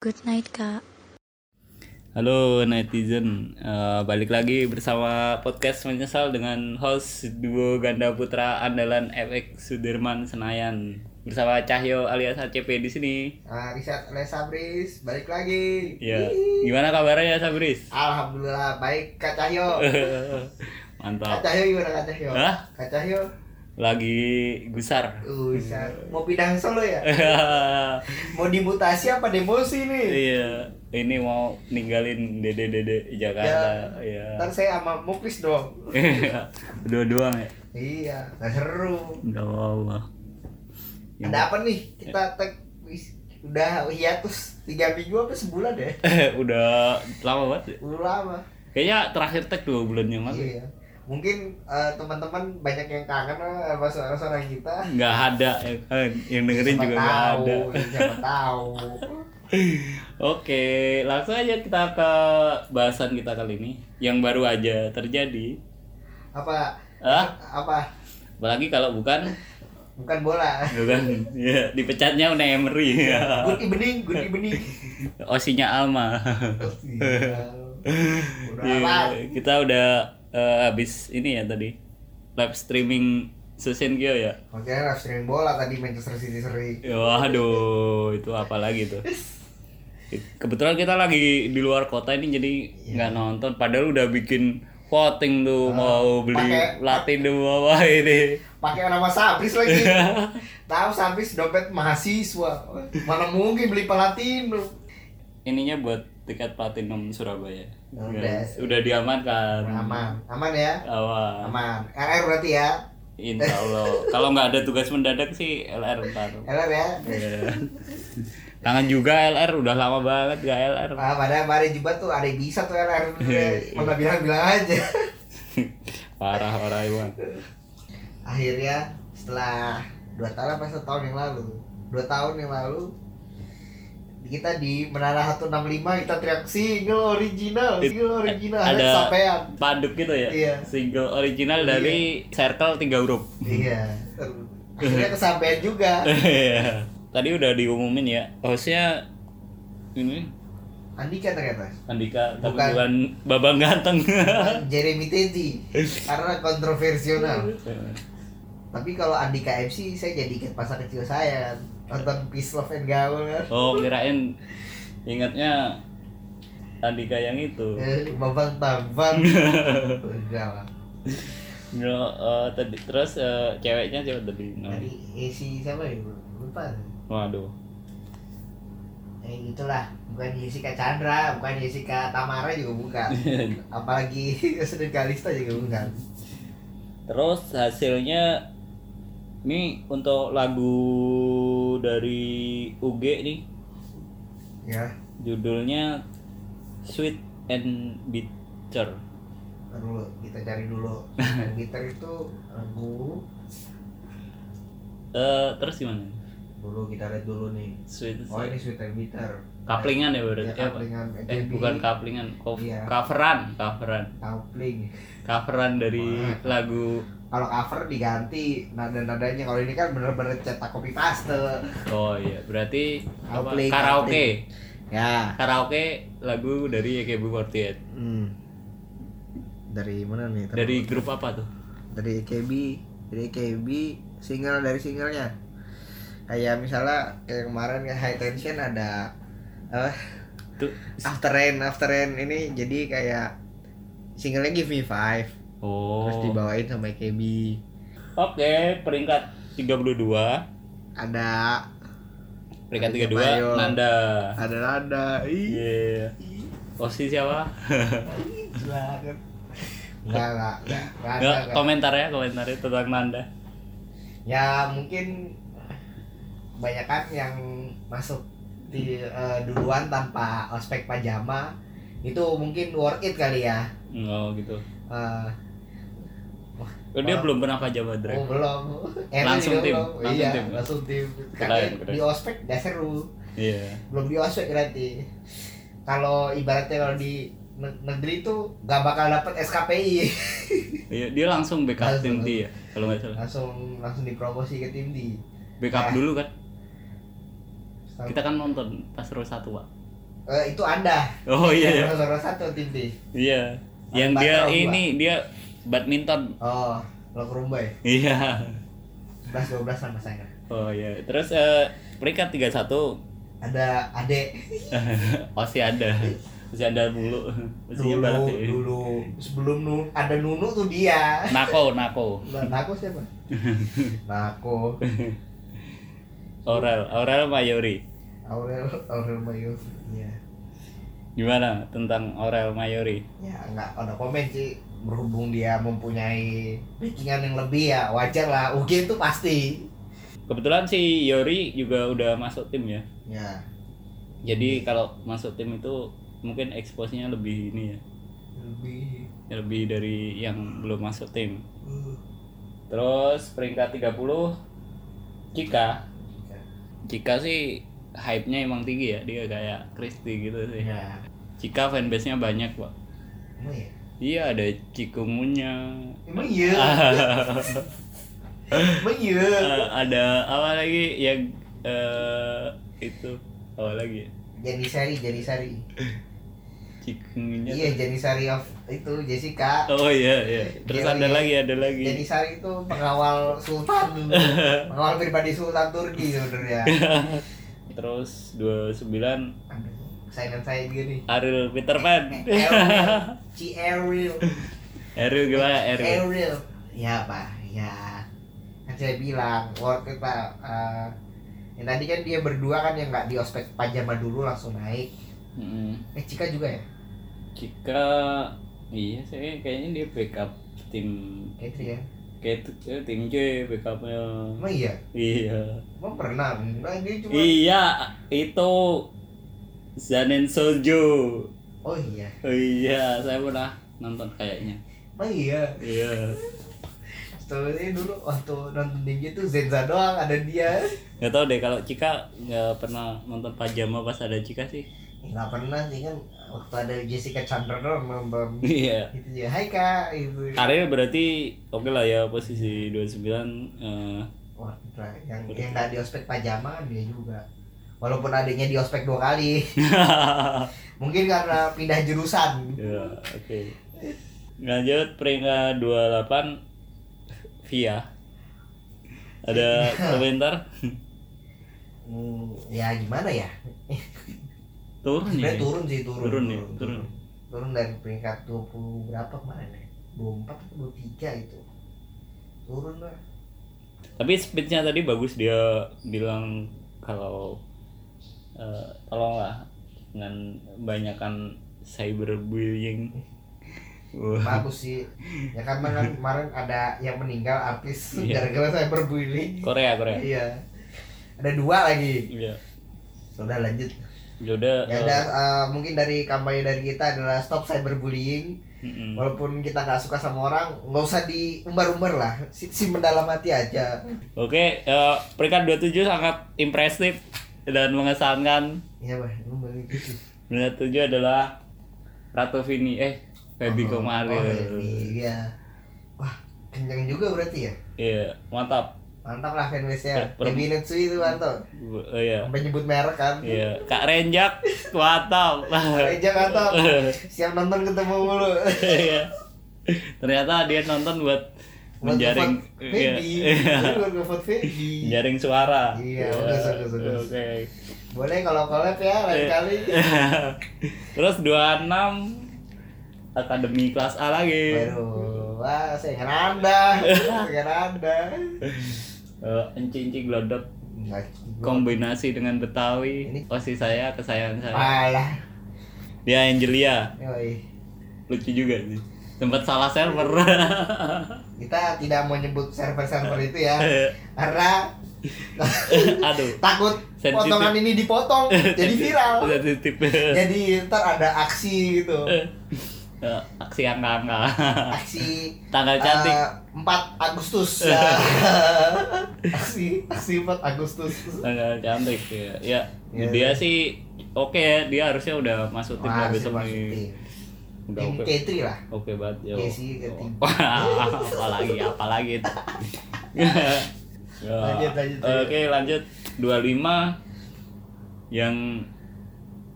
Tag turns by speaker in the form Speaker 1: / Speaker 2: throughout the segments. Speaker 1: Good night, Kak.
Speaker 2: Halo netizen, Eh, balik lagi bersama podcast menyesal dengan host duo ganda putra andalan FX Sudirman Senayan bersama Cahyo alias HCP di sini.
Speaker 3: Nah, riset Les Sabris balik lagi.
Speaker 2: Ya, gimana kabarnya Sabris?
Speaker 3: Alhamdulillah baik Kak Cahyo. Kak
Speaker 2: Mantap.
Speaker 3: Cahyo gimana Kak Cahyo?
Speaker 2: Hah?
Speaker 3: Kak Cahyo
Speaker 2: Lagi gusar.
Speaker 3: uh, bisa. mau pindah ke Solo ya? Mau dimutasi apa demosi nih?
Speaker 2: Iya, ini mau ninggalin dede-dede Jakarta. Iya.
Speaker 3: Ya, Ntar saya sama Muklis dong.
Speaker 2: Dua-dua ya.
Speaker 3: iya, nggak seru.
Speaker 2: Enggak Allah. Ya,
Speaker 3: Ada apa nih? Kita tag wis, udah hiatus tiga minggu apa sebulan ya?
Speaker 2: udah lama banget. ya.
Speaker 3: Udah lama.
Speaker 2: Kayaknya terakhir tag dua bulan yang lalu.
Speaker 3: Iya. Mungkin eh, teman-teman banyak yang kangen sama suara-suara kita.
Speaker 2: Nggak ada ya kan? Yang dengerin
Speaker 3: Siapa
Speaker 2: juga nggak
Speaker 3: tahu,
Speaker 2: ada.
Speaker 3: siapa tahu.
Speaker 2: Oke, langsung aja kita ke bahasan kita kali ini yang baru aja terjadi.
Speaker 3: apa
Speaker 2: Ah,
Speaker 3: apa
Speaker 2: apalagi kalau bukan
Speaker 3: bukan bola
Speaker 2: bukan ya dipecatnya Unai Emery. Ya.
Speaker 3: good evening good evening
Speaker 2: Osinya Alma.
Speaker 3: udah
Speaker 2: Iya,
Speaker 3: apa
Speaker 2: kita udah eh, habis ini ya tadi live streaming Susen Gyo ya.
Speaker 3: makanya live streaming bola tadi Manchester City seri
Speaker 2: Waduh, itu apa lagi tuh? Kebetulan kita lagi di luar kota ini jadi
Speaker 3: Iya.
Speaker 2: nggak nonton. Padahal udah bikin voting tuh mau beli
Speaker 3: Ah, pakai-
Speaker 2: latih dua apa ini.
Speaker 3: pakai nama Sabris lagi tahu Sabris dompet mahasiswa mana mungkin beli pelatih lu
Speaker 2: Ininya buat tiket platinum Surabaya.
Speaker 3: Udah.
Speaker 2: Udah diamankan.
Speaker 3: Oh, aman aman ya
Speaker 2: Aman.
Speaker 3: aman LR berarti ya
Speaker 2: Insya Allah. Kalau nggak ada tugas mendadak sih LR ntar.
Speaker 3: LR ya
Speaker 2: Iya. Kangen juga LR udah lama banget gak LR.
Speaker 3: Nah, padahal hari Jumat tuh ada yang bisa tuh LR
Speaker 2: Iya.
Speaker 3: Mana bilang-bilang aja
Speaker 2: Parah orang Iwan.
Speaker 3: akhirnya setelah dua tahun apa setahun yang lalu dua tahun yang lalu kita di Menara 165 kita teriak single original
Speaker 2: It-
Speaker 3: single original
Speaker 2: ada-
Speaker 3: ada sampean
Speaker 2: Paduk gitu ya.
Speaker 3: Iya.
Speaker 2: Single original dari Circle 3 huruf.
Speaker 3: iya seru. akhirnya kesampean juga
Speaker 2: Iya. Tadi udah diumumin ya. Hostnya ini
Speaker 3: Andika ternyata
Speaker 2: Andika tapi
Speaker 3: Bukan.
Speaker 2: bukan Babang ganteng.
Speaker 3: Jeremy Teti karena kontroversial tapi kalau Andika MC saya jadi ingat masa kecil saya nonton Peace Love and Gaul kan
Speaker 2: oh, kirain ingatnya Andika yang itu.
Speaker 3: Eh, babang tambang udah lah
Speaker 2: No, eh, tadi terus eh, ceweknya siapa tadi? No.
Speaker 3: tadi isi siapa ya lupa
Speaker 2: Waduh.
Speaker 3: Eh itulah, bukan Jessica Chandra, bukan Jessica Tamara juga bukan. Apalagi Senin Kalista juga bukan.
Speaker 2: Terus hasilnya ini untuk lagu dari UG nih
Speaker 3: Ya,
Speaker 2: judulnya Sweet and Bitter.
Speaker 3: perlu kita cari dulu. Dan Gitar itu lagu
Speaker 2: Eh terus gimana?
Speaker 3: dulu kita lihat dulu nih.
Speaker 2: Sweet.
Speaker 3: Oh ini Sweet and Bitter.
Speaker 2: Kaplingan ya berarti
Speaker 3: Ya,
Speaker 2: apa?
Speaker 3: kaplingan
Speaker 2: Eh
Speaker 3: AKB.
Speaker 2: bukan kaplingan, co-
Speaker 3: Iya.
Speaker 2: coveran, coveran.
Speaker 3: Coupling.
Speaker 2: Coveran dari
Speaker 3: Wah.
Speaker 2: lagu
Speaker 3: Kalau cover diganti nada-nadanya. Kalau ini kan bener-bener cetak copy paste.
Speaker 2: Oh iya, berarti apa?
Speaker 3: Coupling,
Speaker 2: karaoke.
Speaker 3: Ya.
Speaker 2: Karaoke lagu dari AKB48.
Speaker 3: Hmm. Dari mana nih?
Speaker 2: Dari grup apa tuh?
Speaker 3: dari EKB dari EKB single dari singlenya kayak misalnya kayak kemarin kayak high tension ada eh
Speaker 2: Tuh.
Speaker 3: after rain after rain ini jadi kayak singlenya give me five
Speaker 2: Oh.
Speaker 3: terus dibawain sama EKB
Speaker 2: Oke, peringkat 32,
Speaker 3: ada
Speaker 2: peringkat
Speaker 3: Ada
Speaker 2: 32
Speaker 3: Jamayo.
Speaker 2: Nanda.
Speaker 3: ada ada ih
Speaker 2: Iya. Osi siapa?
Speaker 3: banget Enggak, enggak, enggak, enggak ada,
Speaker 2: Nggak,
Speaker 3: enggak.
Speaker 2: komentar ya, komentar ya tentang Nanda.
Speaker 3: Ya mungkin kebanyakan yang masuk di eh, duluan tanpa ospek pajama itu mungkin worth it kali ya.
Speaker 2: Oh, gitu.
Speaker 3: Eh,
Speaker 2: Oh, dia
Speaker 3: Oh.
Speaker 2: belum pernah pajama
Speaker 3: oh
Speaker 2: drive.
Speaker 3: belum. Enak
Speaker 2: Langsung
Speaker 3: juga
Speaker 2: tim,
Speaker 3: belum.
Speaker 2: langsung
Speaker 3: iya,
Speaker 2: tim.
Speaker 3: langsung tim.
Speaker 2: Keren,
Speaker 3: Karena
Speaker 2: keren.
Speaker 3: di ospek gak seru.
Speaker 2: Iya.
Speaker 3: Belum di ospek berarti. Kalau ibaratnya kalau di ne- negeri itu gak bakal dapet SKPI.
Speaker 2: Iya, dia langsung backup
Speaker 3: Langsung,
Speaker 2: tim D ya, kalau nggak salah.
Speaker 3: langsung langsung dipromosi ke tim D.
Speaker 2: Backup
Speaker 3: Nah.
Speaker 2: dulu kan. Kita kan nonton pas row 1, Pak.
Speaker 3: Eh, itu anda
Speaker 2: Oh iya ya.
Speaker 3: nomor satu tim D
Speaker 2: Iya. Yang
Speaker 3: Batal
Speaker 2: dia
Speaker 3: gua.
Speaker 2: ini dia badminton.
Speaker 3: oh lo ke rumah ya
Speaker 2: Iya.
Speaker 3: 11 12 sama saya
Speaker 2: Oh iya. Terus eh, peringkat 31
Speaker 3: ada adek
Speaker 2: masih ada. Masih ada bulu. Masih
Speaker 3: dulu
Speaker 2: barat. ya.
Speaker 3: dulu sebelum nu ada nunu tuh dia
Speaker 2: Nako, nako.
Speaker 3: Nah, Nako siapa? Nako,
Speaker 2: Oral, oral Mayori.
Speaker 3: Aurel, Aurel Mayu. Iya.
Speaker 2: Gimana tentang Oral Mayori?
Speaker 3: Ya nggak ada komen sih berhubung dia mempunyai backingan yang lebih ya wajar lah UG itu pasti
Speaker 2: Kebetulan si Yori juga udah masuk tim ya.
Speaker 3: ya
Speaker 2: Jadi kalau masuk tim itu mungkin expose-nya lebih ini ya.
Speaker 3: lebih uh.
Speaker 2: Lebih dari yang belum masuk tim. Terus peringkat 30 Cika. Cika sih hype-nya emang tinggi ya. Dia kayak Christy gitu sih.
Speaker 3: ya
Speaker 2: Cika fanbase-nya banyak, Pak.
Speaker 3: emang ya
Speaker 2: Iya, ada Cikungunya.
Speaker 3: emang iya emang iya
Speaker 2: Eh, ada apa lagi yang eh, itu apa lagi ya?
Speaker 3: jadi sari jadi sari
Speaker 2: cikungunya
Speaker 3: iya jadi sari of itu Jessica
Speaker 2: oh iya iya terus
Speaker 3: Iya,
Speaker 2: ada
Speaker 3: iya.
Speaker 2: lagi ada lagi
Speaker 3: jadi sari itu pengawal sultan pengawal pribadi sultan Turki sebenarnya
Speaker 2: terus 29
Speaker 3: Aduh, saingan saya gini
Speaker 2: Ariel Peter Pan
Speaker 3: Ci Ariel
Speaker 2: Ariel gimana Ariel
Speaker 3: Ariel ya pak ya kan saya bilang worth it pak Eh, yang tadi kan dia berdua kan yang nggak di ospek pajama dulu langsung naik
Speaker 2: Mm,
Speaker 3: eh Cika juga ya
Speaker 2: Cika iya sih kayaknya dia backup tim
Speaker 3: Katri ya
Speaker 2: kayak itu, eh, tim C backupnya
Speaker 3: emang iya
Speaker 2: iya
Speaker 3: emang pernah enggak dia cuma
Speaker 2: iya itu Zanen Sojo
Speaker 3: oh iya
Speaker 2: Oh iya, saya pernah nonton kayaknya.
Speaker 3: emang iya
Speaker 2: Iya.
Speaker 3: Sebenarnya dulu waktu nonton dia tuh Zenza doang ada dia
Speaker 2: Gak tau deh kalau Cika nggak pernah nonton pajama pas ada Cika sih.
Speaker 3: nggak pernah sih kan waktu ada Jessica Chandra doang nonton
Speaker 2: Iya.
Speaker 3: gitu ya Hai kak itu
Speaker 2: Karir berarti oke lah ya posisi 29 eh
Speaker 3: Wah, Putra. yang yang nggak di ospek pajama kan dia juga. Walaupun adiknya di ospek dua kali,
Speaker 2: eh.
Speaker 3: mungkin karena pindah jurusan.
Speaker 2: ya, oke. Lanjut peringkat 28 Via. Ada komentar?
Speaker 3: Hmm, ya gimana ya?
Speaker 2: Turun
Speaker 3: Sebenarnya
Speaker 2: ya.
Speaker 3: turun sih turun.
Speaker 2: Turun ya, turun.
Speaker 3: Turun dari peringkat 20 berapa kemarin ya? 24 atau 23 itu. Turun lah.
Speaker 2: Tapi speechnya tadi bagus dia bilang kalau eh, tolonglah dengan banyakkan cyberbullying. Wah,
Speaker 3: Bagus sih. Ya kan kemarin, kemarin ada yang meninggal artis
Speaker 2: Iya.
Speaker 3: gara-gara saya berbully.
Speaker 2: Korea Korea.
Speaker 3: Iya. Ada dua lagi.
Speaker 2: Iya.
Speaker 3: Sudah lanjut.
Speaker 2: Jodoh.
Speaker 3: Ya udah eh, mungkin dari kampanye dari kita adalah stop cyberbullying.
Speaker 2: eh, Hmm.
Speaker 3: Walaupun kita nggak suka sama orang, nggak usah diumbar-umbar lah. Si, si mendalam hati aja.
Speaker 2: Oke, eh, peringkat 27 sangat impresif dan mengesankan.
Speaker 3: Iya bah, lu balik gitu.
Speaker 2: 27 adalah Ratu Vini eh Feby
Speaker 3: Oh,
Speaker 2: Komaril.
Speaker 3: oh, Feby, Iya. Wah, kenceng juga berarti ya.
Speaker 2: Iya, mantap.
Speaker 3: Mantap lah fanbase-nya.
Speaker 2: Per- per-
Speaker 3: Feby Netsui itu mantap.
Speaker 2: Bu- eh, Iya.
Speaker 3: Sampai nyebut merek kan.
Speaker 2: Iya, Kak Renjak mantap.
Speaker 3: Reja mantap. Siang nonton ketemu mulu.
Speaker 2: Iya. Ternyata dia nonton buat menjaring
Speaker 3: Buat ngevote
Speaker 2: iya,
Speaker 3: Feby.
Speaker 2: iya. Ya,
Speaker 3: Lu ngevote Feby.
Speaker 2: menjaring suara. Iya.
Speaker 3: Iya, bagus, bagus, bagus.
Speaker 2: Oke.
Speaker 3: Boleh kalau collab ya
Speaker 2: Iya.
Speaker 3: lain kali.
Speaker 2: Terus 26 Akademi kelas A lagi.
Speaker 3: Waduh, wah saya ingin anda, saya ingin anda.
Speaker 2: Eh, Encinci glodok
Speaker 3: Nggak,
Speaker 2: kombinasi dengan Betawi.
Speaker 3: Ini- Ah,
Speaker 2: Pasti saya kesayangan saya.
Speaker 3: Alah,
Speaker 2: Dia Angelia.
Speaker 3: yoi.
Speaker 2: Lucu juga sih. Tempat salah server.
Speaker 3: kita tidak mau nyebut server-server itu ya karena
Speaker 2: Aduh.
Speaker 3: takut
Speaker 2: Sensitif. Iya.
Speaker 3: potongan ini dipotong jadi viral
Speaker 2: Sensitif.
Speaker 3: jadi ntar ada aksi gitu
Speaker 2: Eh, aksi angka-angka.
Speaker 3: aksi
Speaker 2: Tanggal
Speaker 3: eh,
Speaker 2: cantik. Iya.
Speaker 3: 4 Agustus aksi aksi 4 Agustus
Speaker 2: Tanggal cantik ya. Ya,
Speaker 3: Iya,
Speaker 2: dia
Speaker 3: iya.
Speaker 2: sih oke ya, dia harusnya udah masuk tim
Speaker 3: Wah,
Speaker 2: lah
Speaker 3: harusnya
Speaker 2: besok
Speaker 3: masuk
Speaker 2: nih.
Speaker 3: tim.
Speaker 2: Udah
Speaker 3: tim
Speaker 2: oke.
Speaker 3: K3 lah
Speaker 2: Oke banget ya.
Speaker 4: Iya
Speaker 3: Jesse ke tim.
Speaker 2: apalagi apalagi itu. Ya,
Speaker 3: Lanjut, lanjut,
Speaker 2: Oke, lanjut 25 yang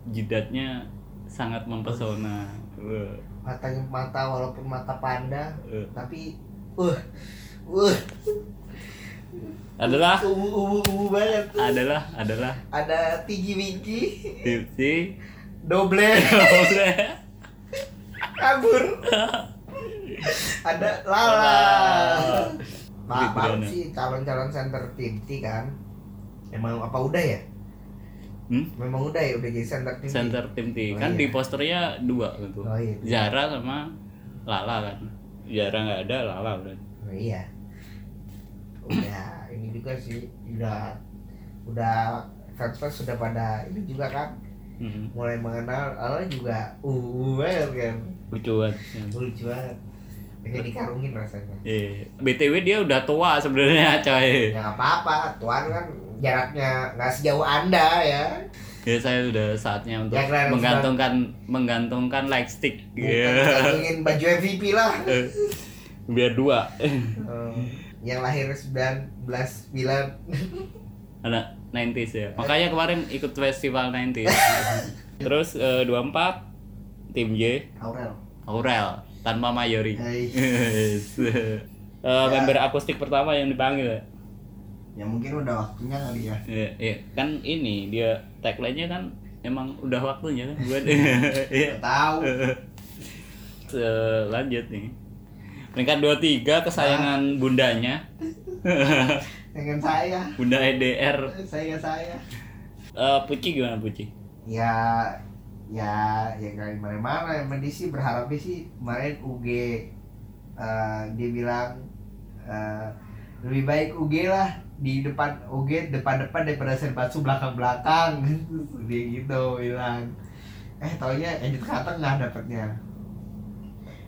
Speaker 2: jidatnya sangat mempesona. Wah,
Speaker 4: matanya mata walaupun mata panda
Speaker 2: eh.
Speaker 4: tapi uh uh
Speaker 2: Adalah
Speaker 4: ubu ubu ubu banget
Speaker 2: adalah adalah
Speaker 4: ada tinggi winggi
Speaker 2: tipsi
Speaker 4: doble kabur ada lala
Speaker 2: Beli
Speaker 4: Pak baru
Speaker 2: berana.
Speaker 4: sih calon-calon center tim T kan emang apa udah ya
Speaker 2: Hmm?
Speaker 4: memang udah ya udah jadi center tim T?
Speaker 2: center tim T
Speaker 4: Oh,
Speaker 2: kan di
Speaker 4: iya.
Speaker 2: posternya dua gitu
Speaker 4: oh iya
Speaker 2: Zara sama Lala kan Zara nggak ada Lala kan
Speaker 4: Oh, iya udah ini juga sih udah udah fans fans sudah pada ini juga kan
Speaker 2: hmm.
Speaker 4: mulai mengenal Allah juga uh banget kan
Speaker 2: lucu banget Hmm.
Speaker 4: lucu banget pengen dikarungin rasanya
Speaker 2: Eh, BTW dia udah tua sebenarnya coy.
Speaker 4: ya nggak apa-apa tuan kan jaraknya nggak sejauh anda ya
Speaker 2: Ya saya udah saatnya untuk
Speaker 4: Ya, keren,
Speaker 2: menggantungkan menggantungkan lightstick
Speaker 4: bukan
Speaker 2: Iya.
Speaker 4: ingin baju MVP lah
Speaker 2: Eh, Biar dua.
Speaker 4: Eh, yang lahir 19 sembilan
Speaker 2: Anak 90s ya. Makanya kemarin ikut festival 90s. Terus eh, 24 tim J
Speaker 4: Aurel
Speaker 2: Aurel tanpa Mayori.
Speaker 3: Hai.
Speaker 4: Iya.
Speaker 2: Yes. Eh,
Speaker 4: Ya.
Speaker 2: member akustik pertama yang dipanggil.
Speaker 3: Ya mungkin udah waktunya kali ya.
Speaker 2: Iya, iya. kan ini dia tagline-nya kan emang udah waktunya kan buat Iya.
Speaker 3: Nggak tahu.
Speaker 2: Eh, lanjut nih peringkat 23 kesayangan bundanya
Speaker 3: Dengan saya,
Speaker 2: bunda EDR
Speaker 3: saya saya.
Speaker 2: Eh, Puci gimana Puci?
Speaker 3: Ya ya ya kali mana-mana yang mending sih berharap sih kemarin UG eh, dia bilang eh, lebih baik UG lah di depan UG depan-depan daripada Senbatsu belakang-belakang dia gitu bilang eh taunya edit kata nggak dapetnya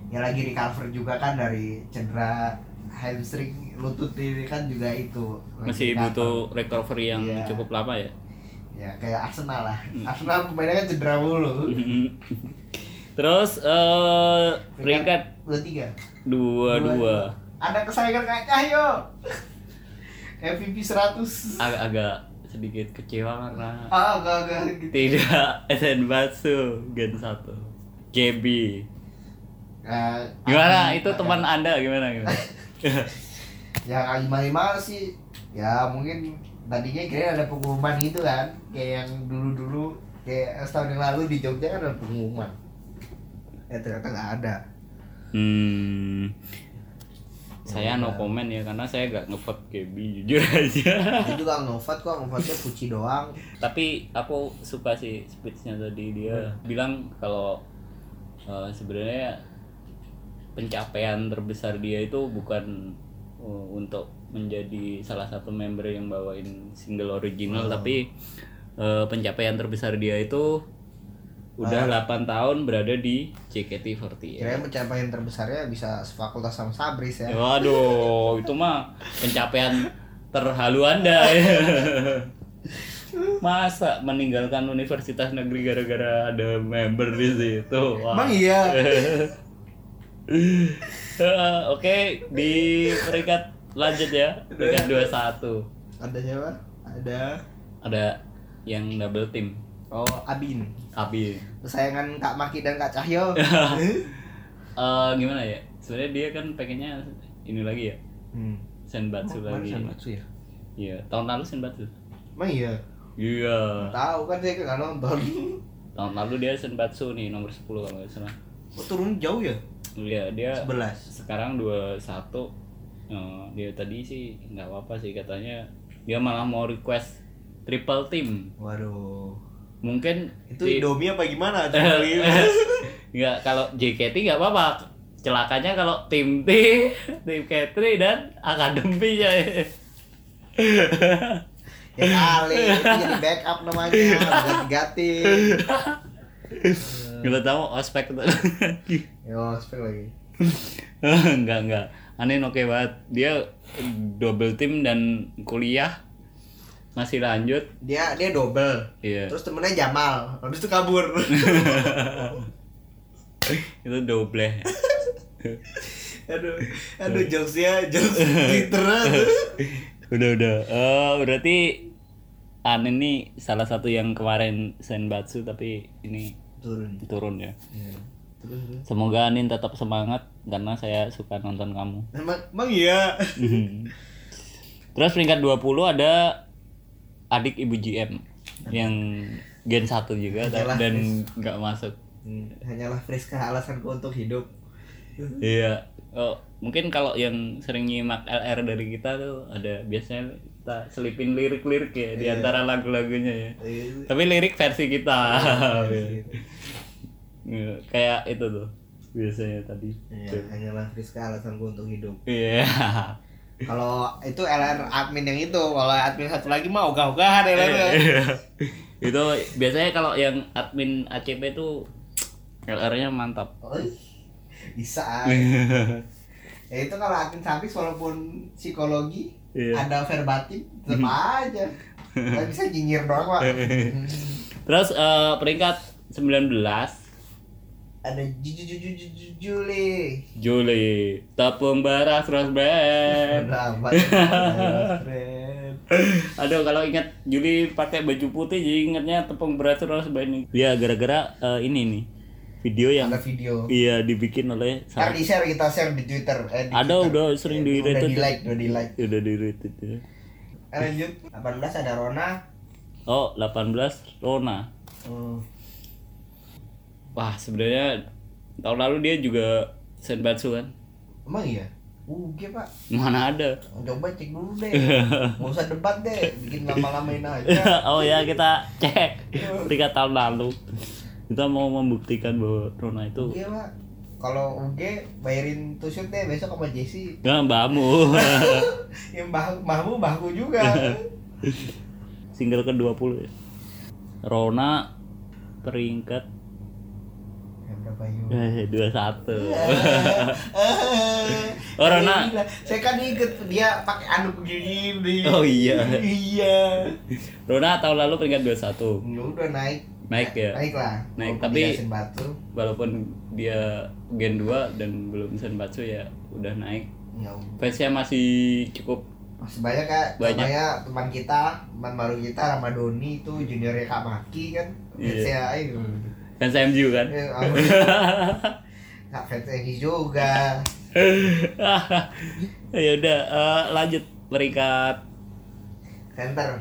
Speaker 3: ya lagi recover juga kan dari cedera hamstring lutut ini kan juga itu lagi
Speaker 2: masih
Speaker 3: recover.
Speaker 2: butuh recovery yang
Speaker 3: Iya.
Speaker 2: cukup lama ya
Speaker 3: ya kayak Arsenal lah
Speaker 2: Hmm.
Speaker 3: Arsenal pemainnya kan cedera mulu
Speaker 2: terus eh peringkat
Speaker 3: dua tiga
Speaker 2: 22
Speaker 3: ada kesayangan "Ah, Kak Cahyo MVP 100
Speaker 2: agak-agak sedikit kecewa karena
Speaker 3: ah enggak enggak gitu
Speaker 2: tidak Senbatsu Gen 1 JB
Speaker 3: Eh,
Speaker 2: gimana
Speaker 3: Adi-
Speaker 2: itu teman anda gimana gimana
Speaker 3: ya kali minimal sih ya mungkin tadinya kira ada pengumuman gitu kan kayak yang dulu dulu kayak setahun yang lalu di Jogja kan ada pengumuman ya ternyata nggak ada
Speaker 2: Hmm. Saya no comment ya karena saya gak ngevote KB jujur aja.
Speaker 3: itu juga ngobat kok ngobatnya puji doang
Speaker 2: Tapi aku suka sih speechnya tadi dia bilang kalau eh, sebenarnya pencapaian terbesar dia itu bukan eh, untuk menjadi salah satu member yang bawain single original tapi eh, pencapaian terbesar dia itu udah 8 tahun berada di JKT48.
Speaker 3: kira pencapaian terbesarnya bisa sefakultas sama Sabris ya
Speaker 2: Waduh, itu mah pencapaian terhalu Anda. ya. Masa meninggalkan universitas negeri gara-gara ada member di situ. Wah.
Speaker 3: Emang iya
Speaker 2: Eh, Oke, di peringkat lanjut ya. Peringkat 21.
Speaker 3: ada siapa ada
Speaker 2: Ada yang double team.
Speaker 3: oh Abin
Speaker 2: Abi.
Speaker 3: kesayangan Kak Maki dan Kak Cahyo
Speaker 2: Eh, gimana ya? Sebenarnya dia kan pengennya ini lagi ya.
Speaker 3: hmm.
Speaker 2: Senbatsu lagi.
Speaker 3: ya
Speaker 2: Iya, tahun lalu Senbatsu.
Speaker 3: emang iya
Speaker 2: Iya.
Speaker 3: tahu kan saya nggak nonton
Speaker 2: tahun lalu dia Senbatsu nih nomor 10 kalau nggak salah
Speaker 3: oh, turun jauh ya
Speaker 2: Iya dia
Speaker 3: 11
Speaker 2: sekarang 21 Eh, dia tadi sih nggak apa-apa sih katanya dia malah mau request triple team
Speaker 3: waduh
Speaker 2: mungkin
Speaker 3: itu
Speaker 2: di-
Speaker 3: Indomie apa gimana Coba lihat.
Speaker 2: nggak kalau JKT nggak apa-apa celakanya kalau tim T tim Katri dan akademi ya
Speaker 3: ya kali itu jadi backup namanya ganti-ganti
Speaker 2: nggak tahu ospek tuh.
Speaker 3: yo spek lagi
Speaker 2: nggak nggak aneh oke banget dia double team dan kuliah masih lanjut
Speaker 3: dia dia double
Speaker 2: Iya.
Speaker 3: terus temennya Jamal habis itu kabur
Speaker 2: Itu double.
Speaker 3: aduh
Speaker 2: Iya.
Speaker 3: aduh jokes ya jokes Twitter
Speaker 2: udah udah. Eh berarti An ini salah satu yang kemarin senbatsu tapi ini
Speaker 3: turun
Speaker 2: turun ya.
Speaker 3: Iya. terus terus
Speaker 2: Semoga Anin tetap semangat karena saya suka nonton kamu.
Speaker 3: emang emang iya
Speaker 2: Mhm. Terus peringkat 20 ada adik ibu GM yang gen 1 juga
Speaker 3: Yalah,
Speaker 2: dan nggak masuk.
Speaker 3: Hmm, hanyalah Friska alasanku untuk hidup
Speaker 2: Iya. Oh, mungkin kalau yang sering nyimak LR dari kita tuh ada biasanya kita selipin lirik-lirik ya di
Speaker 3: Iya.
Speaker 2: antara lagu-lagunya ya.
Speaker 3: Eh,
Speaker 2: Tapi lirik versi kita. Oh, Iya, Kayak itu tuh biasanya tadi.
Speaker 3: Iya, hanyalah Friska alasanku untuk hidup.
Speaker 2: Iya.
Speaker 3: Kalau itu LR admin yang itu, kalau admin satu lagi mah ogah-ogahan ya. LR.
Speaker 2: Iya. itu biasanya kalau yang admin ACP tuh LR-nya mantap.
Speaker 3: Oi, Bisa. ah. ya itu kalau admin habis walaupun psikologi
Speaker 2: Iya.
Speaker 3: ada verbatim tetap aja. Gak bisa nyinyir doang,
Speaker 2: Iya,
Speaker 3: Pak.
Speaker 2: Terus eh, peringkat 19
Speaker 3: ada jujujujujuli.
Speaker 2: Juli Tepung Baras Rose Band.
Speaker 3: Berapa?
Speaker 2: Aduh kalau ingat Juli pakai baju putih jadi ingatnya tepung beras Rose Band. Ya gara-gara eh, ini nih video yang
Speaker 3: Ada video.
Speaker 2: iya dibikin oleh
Speaker 3: Ntar
Speaker 2: sama-
Speaker 3: di share kita share di Twitter. Eh, di
Speaker 2: Ada,
Speaker 3: Twitter.
Speaker 2: udah sering
Speaker 3: Eh, Udah
Speaker 2: di-retweet. ya?
Speaker 3: di like, udah di like.
Speaker 2: udah di retweet ya.
Speaker 3: Eh, lanjut. 18 ada Rona.
Speaker 2: Oh 18 Rona.
Speaker 3: Hmm.
Speaker 2: Wah sebenarnya tahun lalu dia juga Senbatsu kan.
Speaker 3: Emang iya? Uge pak,
Speaker 2: Mana ada.
Speaker 3: coba cek dulu deh Gak usah debat deh, bikin lama-lamain aja
Speaker 2: oh ya kita cek peringkat tahun lalu. Kita mau membuktikan bahwa Rona itu
Speaker 3: Uge Iya, pak, kalau Uge bayarin tusuk deh besok sama Jesse
Speaker 2: Nah, mbamu.
Speaker 3: Ya mbah, mbahmu mbahku juga
Speaker 2: Single ke-20 ya. Rona peringkat
Speaker 3: Ya berapa yuk
Speaker 2: eh, 21.
Speaker 3: Eh,
Speaker 2: Oh, Rona.
Speaker 3: gila. Saya kan inget dia pakai anduk gini
Speaker 2: Oh, iya.
Speaker 3: Iya
Speaker 2: Rona tahun lalu peringkat 21.
Speaker 3: Ya udah naik
Speaker 2: Naik ya.
Speaker 3: Naik lah
Speaker 2: Naik,
Speaker 3: Walaupun
Speaker 2: tapi-
Speaker 3: dikasihin batu
Speaker 2: Walaupun dia gen 2 dan belum senbatsu ya udah naik.
Speaker 3: Ya udah
Speaker 2: Fansnya masih cukup
Speaker 3: Masih banyak kak,
Speaker 2: Banyak.
Speaker 3: banyak teman kita, teman baru kita, sama Doni itu juniornya Kak Maki kan
Speaker 2: Iya.
Speaker 3: Fans ya, ayo
Speaker 2: fans MU kan.
Speaker 3: Eh, aku- Kak fans Egi juga
Speaker 2: ya udah eh, lanjut peringkat
Speaker 3: Center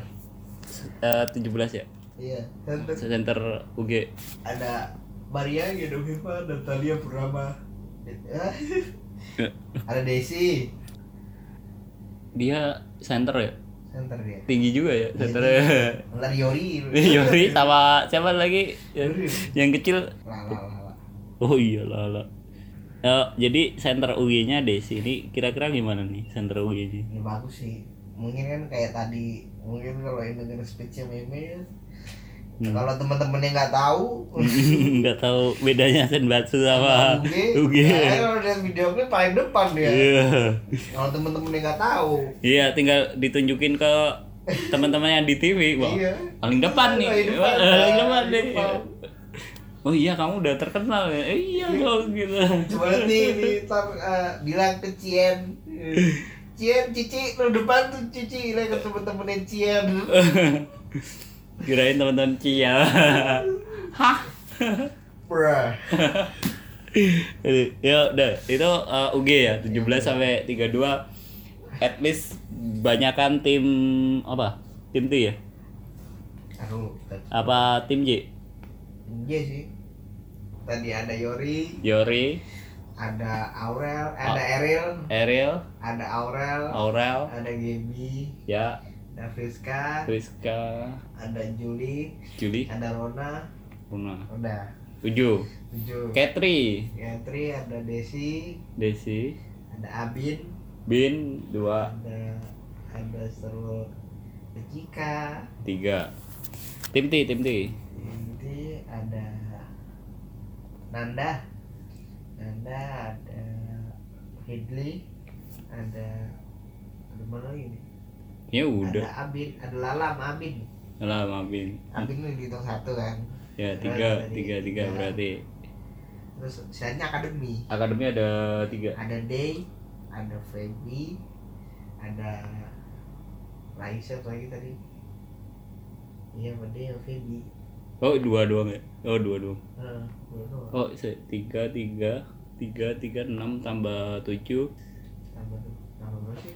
Speaker 2: eh, 17 ya.
Speaker 3: Iya, center
Speaker 2: Center UG.
Speaker 3: Ada Maria ya Genoveva dan Talia Purama
Speaker 2: Iya.
Speaker 3: Ada Desi
Speaker 2: Dia center ya.
Speaker 3: Center dia
Speaker 2: Tinggi juga ya center.
Speaker 3: Ntar Yori
Speaker 2: Yori sama siapa lagi? Yang,
Speaker 3: Yori.
Speaker 2: yang kecil
Speaker 3: Lala, lala.
Speaker 2: Oh iya lala. Eh, jadi center UG-nya Desi ini kira-kira gimana nih center UG-nya?
Speaker 3: Ini bagus sih Mungkin kan kayak tadi Mungkin kalau yang denger speech-nya meme
Speaker 2: Hmm.
Speaker 3: Kalau teman-teman yang nggak tahu
Speaker 2: Nggak tahu bedanya Senbatsu sama UG.
Speaker 3: Uge. Ya, kalau lihat video klip paling depan dia.
Speaker 2: Iya.
Speaker 3: Kalau temen-temen yang nggak tahu.
Speaker 2: Iya, tinggal ditunjukin ke teman-teman yang di TV, Wah,
Speaker 3: Iya.
Speaker 2: Paling depan nih.
Speaker 3: Paling depan,
Speaker 2: Wah, Paling
Speaker 3: Pak.
Speaker 2: depan nih.
Speaker 3: Paling depan.
Speaker 2: Oh iya, kamu udah terkenal ya. Eh, Iya, kok gitu.
Speaker 3: Coba lihat nih, nih ntar, eh, bilang ke Cien. Cien, Cici, lu depan tuh Cici, lah ke temen-temen yang Cien.
Speaker 2: Kirain teman-teman Cia. Hah?
Speaker 3: Bruh.
Speaker 2: Aduh, ya udah itu uh, UG ya 17 sampai 32 at least banyakan tim apa tim T ya
Speaker 3: Aduh,
Speaker 2: apa tim J
Speaker 3: iya sih. Tadi ada Yori,
Speaker 2: Yori
Speaker 3: ada Aurel, eh, ada
Speaker 2: Ah.
Speaker 3: Eril,
Speaker 2: Ariel
Speaker 3: ada Aurel,
Speaker 2: Aurel
Speaker 3: ada Gaby,
Speaker 2: ya
Speaker 3: ada Friska,
Speaker 2: Rizka
Speaker 3: ada Juli,
Speaker 2: Juli
Speaker 3: ada Rona,
Speaker 2: Runa
Speaker 3: udah
Speaker 2: Uju
Speaker 3: tujuh.
Speaker 2: Katri
Speaker 3: Yatri, ada Desi,
Speaker 2: Desi
Speaker 3: ada Abin,
Speaker 2: Bin 2
Speaker 3: ada ada seru Cika
Speaker 2: 3 tim T tim T
Speaker 3: nanti ada Nanda Nanda ada Hidli ada ada mana lagi nih
Speaker 2: ya udah
Speaker 3: ada Abin ada Lala sama Abin
Speaker 2: lah sama Bin
Speaker 3: Abin yang dihitung satu kan
Speaker 2: ya tiga tiga tiga berarti
Speaker 3: terus sisanya akademi
Speaker 2: akademi ada tiga
Speaker 3: ada Day ada Feby ada Raisa apa lagi tadi Iya, Mede sama Feby.
Speaker 2: Oh dua doang ya? Oh dua doang.
Speaker 3: Heeh, gua doang.
Speaker 2: Oh se- tiga tiga tiga tiga enam tambah tujuh.
Speaker 3: Tambah tuh, tambah berapa sih?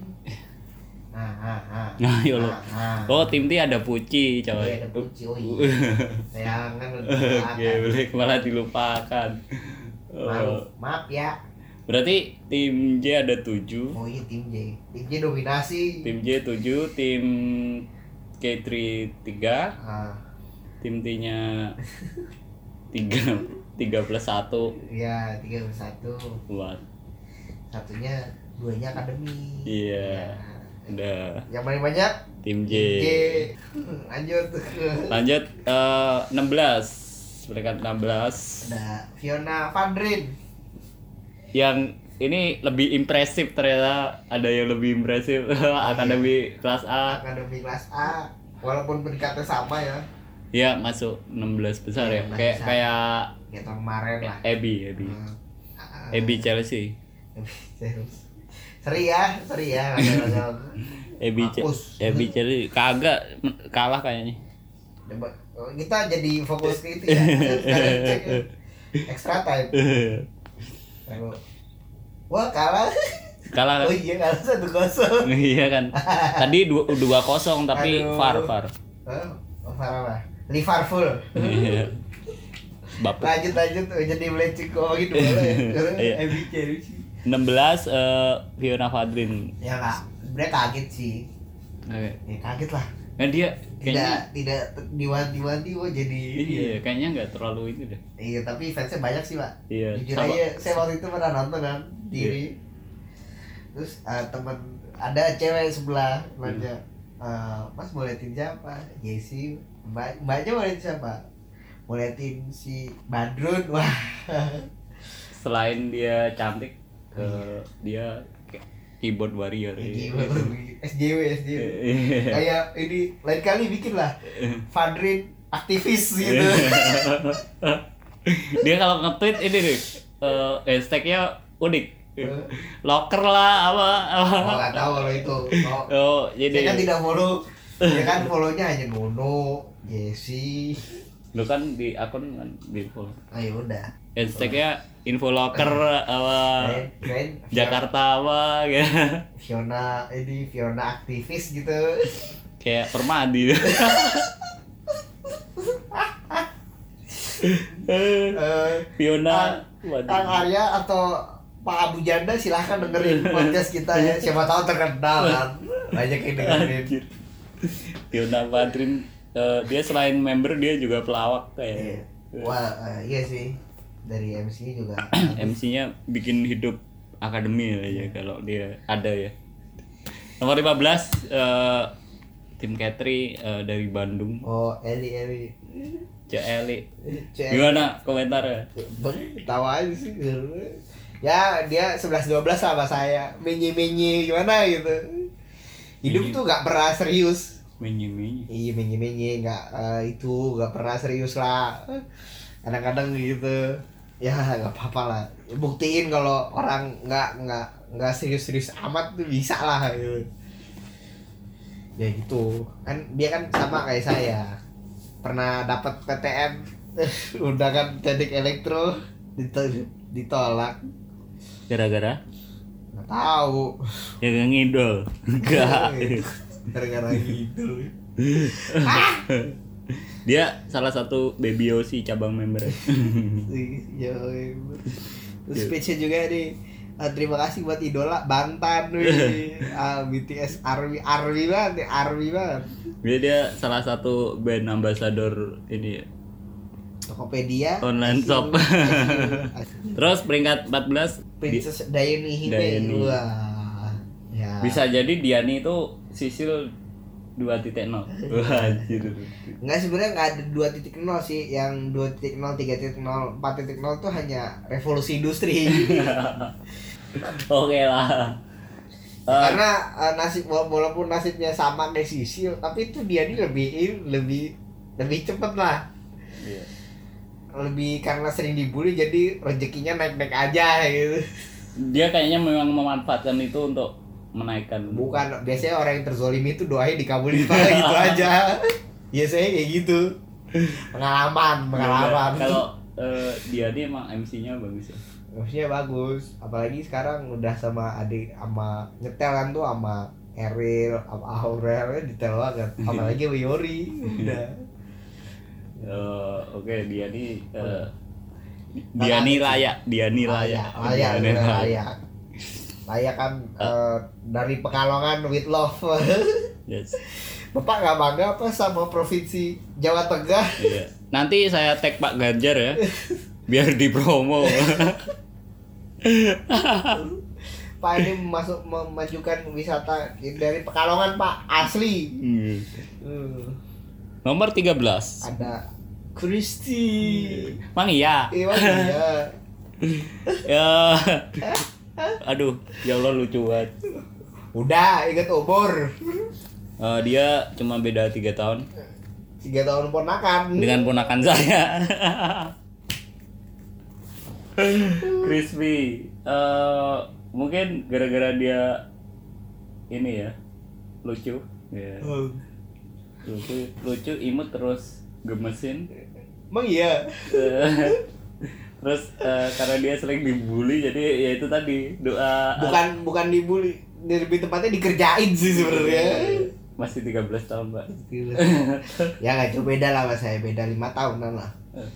Speaker 3: Nah, ah, ah.
Speaker 2: Nah ya Allah.
Speaker 3: Ah,
Speaker 2: Oh
Speaker 3: ah.
Speaker 2: tim T ada Puci
Speaker 3: Iya,
Speaker 2: coy.
Speaker 3: ada kunci, oh iya. Sayangan udah
Speaker 2: Oke
Speaker 3: kecelakaan.
Speaker 2: boleh malah dilupakan.
Speaker 3: kan? Maaf,
Speaker 2: Oh,
Speaker 3: maaf ya.
Speaker 2: berarti tim J ada tujuh,
Speaker 3: Oh iya tim J. Tim J dominasi.
Speaker 2: tim J tujuh, tim K3 tiga,
Speaker 3: Ah,
Speaker 2: tim T nya tiga tiga plus satu.
Speaker 3: iya tiga ke satu.
Speaker 2: Wah
Speaker 3: Satunya duanya akademi.
Speaker 2: Iya. udah
Speaker 3: Ya. Yang paling banyak
Speaker 2: tim J.
Speaker 3: J. Hmm, Lanjut.
Speaker 2: Lanjut eh, 16 peringkat 16
Speaker 3: Ada Fiona Fandrin.
Speaker 2: yang ini lebih impresif ternyata ada yang lebih impresif akademi kelas A
Speaker 3: Akademi kelas A. Walaupun peringkatnya sama ya.
Speaker 2: ya masuk 16 besar ya
Speaker 3: Iya,
Speaker 2: kayak
Speaker 3: besar.
Speaker 2: kayak
Speaker 3: Ya tahun kemarin lah.
Speaker 2: Ebi Ebi
Speaker 3: Ah,
Speaker 2: Ebi Chelsea
Speaker 3: Serius. Seri ya, seri ya. Kadang-kadang.
Speaker 2: Ebi Ce-
Speaker 3: Mampus.
Speaker 2: Ebi Chelsea kagak m- kalah kayaknya
Speaker 3: Coba, oh, Kita jadi fokus ke itu ya. Sekarang cek ya. Extra time. Lalu, Wah kalah.
Speaker 2: kalah kan?
Speaker 3: Oh iya kalah satu kosong.
Speaker 2: iya kan tadi dua dua kosong tapi
Speaker 3: Aduh.
Speaker 2: far far
Speaker 3: Oh, parah lah. Liverpool.
Speaker 2: Iya. Bapak
Speaker 3: Lanjut lanjut oh, jadi melecek kok gitu boleh.
Speaker 2: Iya.
Speaker 3: ya. MBC sih.
Speaker 2: 16 eh, Fiona Fadrin
Speaker 3: Ya enggak, sebenarnya kaget sih.
Speaker 2: Oke.
Speaker 3: Ya kaget lah.
Speaker 2: Nah dia
Speaker 3: Tidak
Speaker 2: kayaknya
Speaker 3: tidak te- diwanti-wanti kok jadi
Speaker 2: iya, kayaknya nggak terlalu itu deh.
Speaker 3: Iya, tapi fansnya banyak sih, Pak.
Speaker 2: Iya.
Speaker 3: Jujur
Speaker 2: sama- Iya.
Speaker 3: aja, saya waktu itu pernah nonton kan diri. Terus eh, teman ada cewek sebelah
Speaker 2: Iya.
Speaker 3: nanya, "Eh, Mas mau liatin siapa? Jesse, Mbak, Mbaknya mau liatin siapa? Mau liatin si Badrun, wah.
Speaker 2: Selain dia cantik, ke dia kayak keyboard warrior.
Speaker 3: Ini
Speaker 2: Iya.
Speaker 3: SJW, SJW.
Speaker 2: Iya.
Speaker 3: Kayak ini lain kali bikin lah, Fadrin aktivis gitu.
Speaker 2: dia kalau nge-tweet ini nih, eh, hashtagnya unik. Iya. Locker lah apa apa.
Speaker 3: Oh, nggak tahu kalau itu. Kalau
Speaker 2: Oh,
Speaker 3: saya kan
Speaker 2: jadi
Speaker 3: tidak follow, ya kan follownya hanya Nono, Jesse,
Speaker 2: lu kan di akun kan di follow.
Speaker 3: ayo udah.
Speaker 2: Hashtagnya info locker apa
Speaker 3: Keren, keren.
Speaker 2: Ah. Jakarta apa gitu.
Speaker 3: Fiona ini Fiona aktivis gitu
Speaker 2: Kayak permadi.
Speaker 3: Eh,
Speaker 2: Fiona
Speaker 3: Kang
Speaker 2: waduh.
Speaker 3: Arya atau Pak Abu Janda silahkan dengerin podcast kita ya siapa tahu terkenal kan banyak yang dengerin
Speaker 2: Anjir. Fiona Badrin eh, dia selain member dia juga pelawak
Speaker 3: Iya.
Speaker 2: kayak
Speaker 3: wah eh, iya sih dari MC juga
Speaker 2: MC-nya bikin hidup akademi lah ya kalau dia ada ya nomor 15 eh, tim Katri eh, dari Bandung
Speaker 3: oh Eli Eli
Speaker 2: Cek Eli
Speaker 3: Cek.
Speaker 2: gimana komentar
Speaker 3: Bang, tawa aja sih ya dia 11-12 sama saya menye menye gimana gitu hidup
Speaker 2: Menye.
Speaker 3: tuh gak pernah serius
Speaker 2: menye menye
Speaker 3: Iya menye menye nggak eh, itu nggak pernah serius lah. Kadang-kadang gitu. Ya nggak apa-apa lah. Buktiin kalau orang nggak nggak nggak serius-serius amat tuh bisa lah gitu. Ya gitu. Kan dia kan sama kayak saya. Pernah dapat PTN undangan kan, teknik elektro dito- ditolak.
Speaker 2: gara-gara
Speaker 3: Nggak tahu.
Speaker 2: ya gak ngidol enggak
Speaker 3: Iya. Gara-gara gitu.
Speaker 2: dia salah satu baby Yosi cabang member
Speaker 3: Iya, weh.
Speaker 2: Iya.
Speaker 3: Terus speechnya juga nih ah, terima kasih buat idola Bantan wih. Ah, BTS Army Army banget nih, Army banget.
Speaker 2: dia dia salah satu band ambassador ini ya.
Speaker 3: Tokopedia
Speaker 2: Online shop.
Speaker 3: ICU.
Speaker 2: terus peringkat 14 di-
Speaker 3: Princess Dayani
Speaker 2: Dayani.
Speaker 3: Hime Wah. Ya.
Speaker 2: bisa jadi Diani itu sisil 2.0 Wah, anjir
Speaker 3: Enggak sebenarnya enggak ada 2.0 sih, yang 2.0, 3.0, 4.0 tuh hanya revolusi industri.
Speaker 2: oke lah Eh,
Speaker 3: karena eh, nasib wala- walaupun nasibnya sama kayak Sisil tapi itu dia ini lebih in- lebih lebih cepet lah
Speaker 2: iya.
Speaker 3: lebih karena sering dibully jadi rezekinya naik-naik aja gitu
Speaker 2: dia kayaknya memang memanfaatkan itu untuk menaikkan
Speaker 3: bukan biasanya orang yang terzolimi itu doanya dikabulin malah gitu aja biasanya kayak gitu pengalaman pengalaman
Speaker 2: Iya, Kalau eh, dia ini emang MC-nya bagus ya.
Speaker 3: maksudnya bagus apalagi sekarang udah sama adik sama nyetel kan tuh sama Eril sama Aurel ya detail banget apalagi sama Yori udah
Speaker 2: Eh, Oke, dia ini eh,
Speaker 3: Layak.
Speaker 2: dia ini layak, dia ini layak.
Speaker 3: layak
Speaker 2: Dia ini
Speaker 3: layak layak layak kan eh, dari Pekalongan with love
Speaker 2: Yes.
Speaker 3: bapak nggak bangga apa sama provinsi Jawa Tengah
Speaker 2: Iya. Nanti saya tag Pak Ganjar ya. Biar di promo.
Speaker 3: pak ini masuk memajukan wisata dari Pekalongan pak asli
Speaker 2: Hmm.
Speaker 3: Hmm,
Speaker 2: Nomor 13.
Speaker 3: ada Kristi
Speaker 2: Mang iya.
Speaker 3: Iya, iya.
Speaker 2: Ya. Aduh, ya Allah lucu banget.
Speaker 3: Udah, inget umur.
Speaker 2: Eh, dia cuma beda tiga tahun
Speaker 3: Tiga tahun ponakan.
Speaker 2: dengan ponakan saya. Crispy. Eh, mungkin gara-gara dia ini ya lucu. Ya.
Speaker 3: Oh.
Speaker 2: Lucu, lucu, imut terus gemesin.
Speaker 3: Emang iya.
Speaker 2: Eh, terus eh, karena dia sering dibully jadi ya itu tadi doa
Speaker 3: Bukan bukan dibully, lebih tepatnya dikerjain sih sebenarnya.
Speaker 2: masih 13 tahun mbak Iya.
Speaker 3: ya nggak jauh beda lah sama saya, beda lima tahunan lah.
Speaker 2: Eh.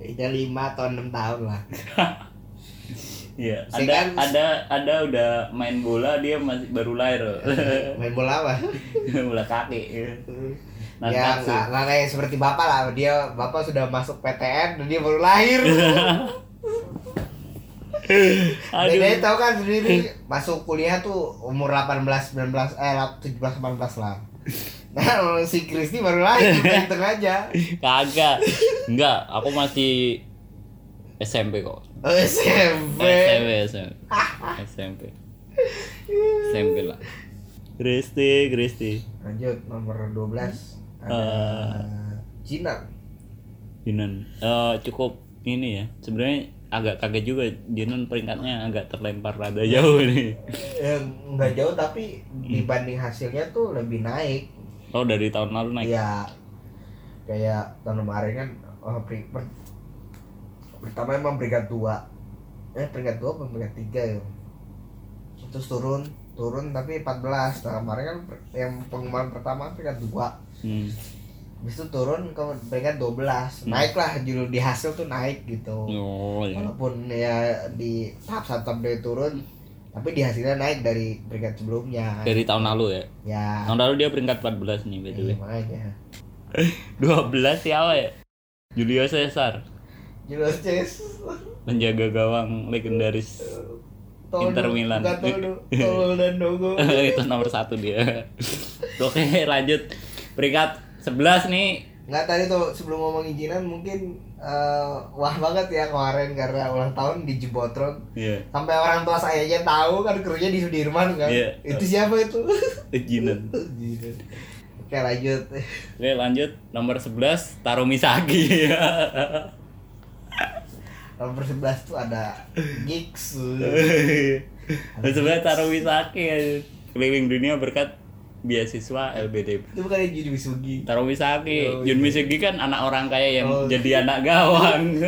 Speaker 3: beda lima atau enam tahun lah.
Speaker 2: Iya, ada
Speaker 3: Sehingga-
Speaker 2: ada ada udah main bola dia masih baru lahir
Speaker 3: Main bola apa?
Speaker 2: bola kaki Nah,
Speaker 3: ya
Speaker 2: nafsu.
Speaker 3: nggak nggak kayak seperti bapak lah dia bapak sudah masuk PTN dan dia baru lahir Bedanya
Speaker 2: aduh Eh.
Speaker 3: tahu kan sendiri masuk kuliah tuh umur 18 19 eh 17 18 lah. Nah, si Kristi baru lahir gitu aja.
Speaker 2: kagak enggak aku masih SMP kok
Speaker 3: Oh, SMP.
Speaker 2: SMP SMP SMP SMP lah Kristi Kristi
Speaker 3: Lanjut nomor 12 ada
Speaker 2: Eh.
Speaker 3: Cina.
Speaker 2: Yunan eh, cukup ini ya sebenarnya agak kaget juga Yunan peringkatnya agak terlempar rada jauh nih
Speaker 3: Eh, nggak jauh tapi
Speaker 2: Hmm.
Speaker 3: dibanding hasilnya tuh lebih naik.
Speaker 2: oh dari tahun lalu naik
Speaker 3: Iya. Kayak tahun kemarin kan oh, pri- per- pertama emang peringkat dua eh peringkat dua apa peringkat tiga ya terus turun turun tapi 14 nah kemarin kan per- yang pengumuman pertama peringkat dua
Speaker 2: Hmm.
Speaker 3: habis itu turun ke peringkat 12 naik lah judul di hasil tuh naik gitu
Speaker 2: Oh, Hmm. iya.
Speaker 3: walaupun ya di tahap satu tahap dua turun tapi di hasilnya naik dari peringkat sebelumnya
Speaker 2: dari tahun lalu ya
Speaker 3: ya
Speaker 2: tahun lalu dia peringkat 14 nih btw
Speaker 3: iya, makanya
Speaker 2: 12 siapa ya Julio Cesar
Speaker 3: jelas Ces.
Speaker 2: penjaga gawang legendaris
Speaker 3: Toldo,
Speaker 2: Inter Milan.
Speaker 3: bukan Toldo, Toldo dan Dogo.
Speaker 2: itu nomor satu dia oke lanjut peringkat 11 nih
Speaker 3: Nggak tadi tuh sebelum ngomong izinan mungkin eh, wah banget ya kemarin karena ulang tahun di Jebotron
Speaker 2: Iya,
Speaker 3: sampai orang tua saya aja tahu kan krunya di Sudirman kan.
Speaker 2: Iya.
Speaker 3: Itu siapa itu?
Speaker 2: Jinan.
Speaker 3: Oke lanjut.
Speaker 2: Oke lanjut nomor 11 Taro Misaki
Speaker 3: Nomor 11 tuh ada Gigs.
Speaker 2: Nomor 11 Taro Misaki keliling dunia berkat beasiswa LBDP
Speaker 3: Itu bukan yang jadi Wisugi.
Speaker 2: Taro Misaki
Speaker 3: Oh,
Speaker 2: Jun
Speaker 3: iya.
Speaker 2: Misaki kan anak orang kaya yang
Speaker 3: Oh,
Speaker 2: jadi anak gawang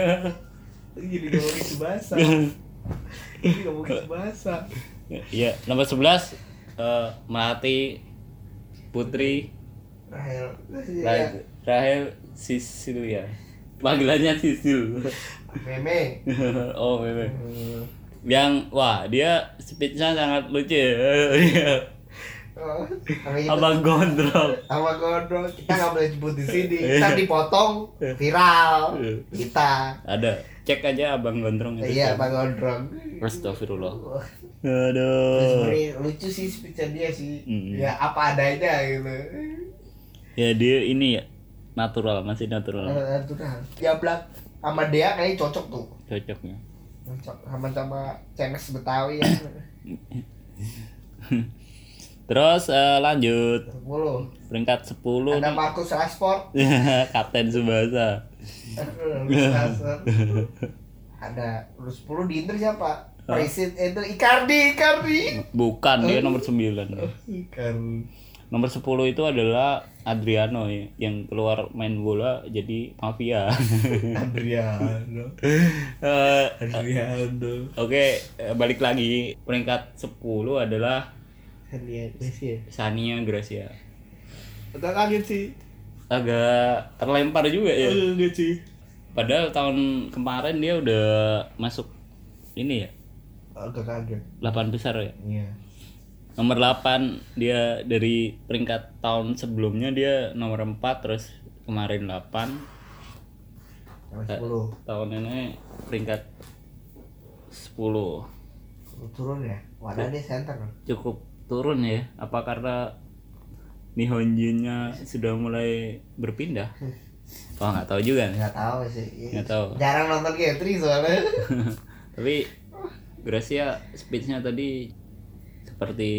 Speaker 3: Jadi gak mau basah. Jadi gak mau basah.
Speaker 2: Iya nomor 11 eh, Melati Putri
Speaker 3: Rahel.
Speaker 2: Ra-
Speaker 3: Iya.
Speaker 2: Rahel Sisilia panggilannya Sisil
Speaker 3: Meme.
Speaker 2: oh memang
Speaker 3: Hmm.
Speaker 2: yang wah dia speechnya sangat lucu ya
Speaker 3: Oh, sama itu.
Speaker 2: abang gondrong
Speaker 3: sama gondrong kita nggak boleh sebut di sini kita dipotong viral kita
Speaker 2: ada cek aja abang gondrong itu
Speaker 3: iya pak gondrong
Speaker 2: Astagfirullah
Speaker 3: Wah,
Speaker 2: aduh
Speaker 3: sebenarnya lucu sih speech dia sih
Speaker 2: Mm.
Speaker 3: ya apa adanya gitu
Speaker 2: ya dia ini ya natural masih natural
Speaker 3: Eh, natural ya blak sama dia kayaknya cocok tuh
Speaker 2: cocoknya
Speaker 3: cocok sama sama cemes betawi ya
Speaker 2: terus eh, lanjut
Speaker 3: mulu
Speaker 2: peringkat 10
Speaker 3: ada
Speaker 2: nih.
Speaker 3: Markus Rashford
Speaker 2: Kapten Subasa
Speaker 3: ada terus 10 di Inter siapa Presiden Inter Icardi Icardi
Speaker 2: bukan dia nomor 9
Speaker 3: Icardi
Speaker 2: Nomor 10 itu adalah Adriano ya, yang keluar main bola jadi mafia.
Speaker 3: Adriano
Speaker 2: Eh,
Speaker 3: Adriano
Speaker 2: Oke, eh, balik lagi. Peringkat 10 adalah
Speaker 3: Sandiaga sih ya
Speaker 2: Sania Gracia.
Speaker 3: Atau kaget sih
Speaker 2: Agak terlempar juga ya.
Speaker 3: Kaget sih
Speaker 2: Padahal tahun kemarin dia udah masuk ini ya,
Speaker 3: Agak kaget
Speaker 2: 8 besar ya.
Speaker 3: Iya
Speaker 2: Nomor 8 dia dari peringkat tahun sebelumnya dia nomor 4 terus kemarin 8.
Speaker 3: Nomor
Speaker 2: Eh.
Speaker 3: sepuluh
Speaker 2: Tahun ini peringkat 10.
Speaker 3: Turun ya
Speaker 2: Eh.
Speaker 3: Wadah dia center
Speaker 2: Cukup turun ya. Apa karena Nihonjinnya sudah mulai berpindah? Oh, nggak tahu juga nih.
Speaker 3: Gak tau sih Iya.
Speaker 2: Nggak tahu.
Speaker 3: Jarang nonton Gatri soalnya
Speaker 2: Tapi Gracia speech-nya tadi seperti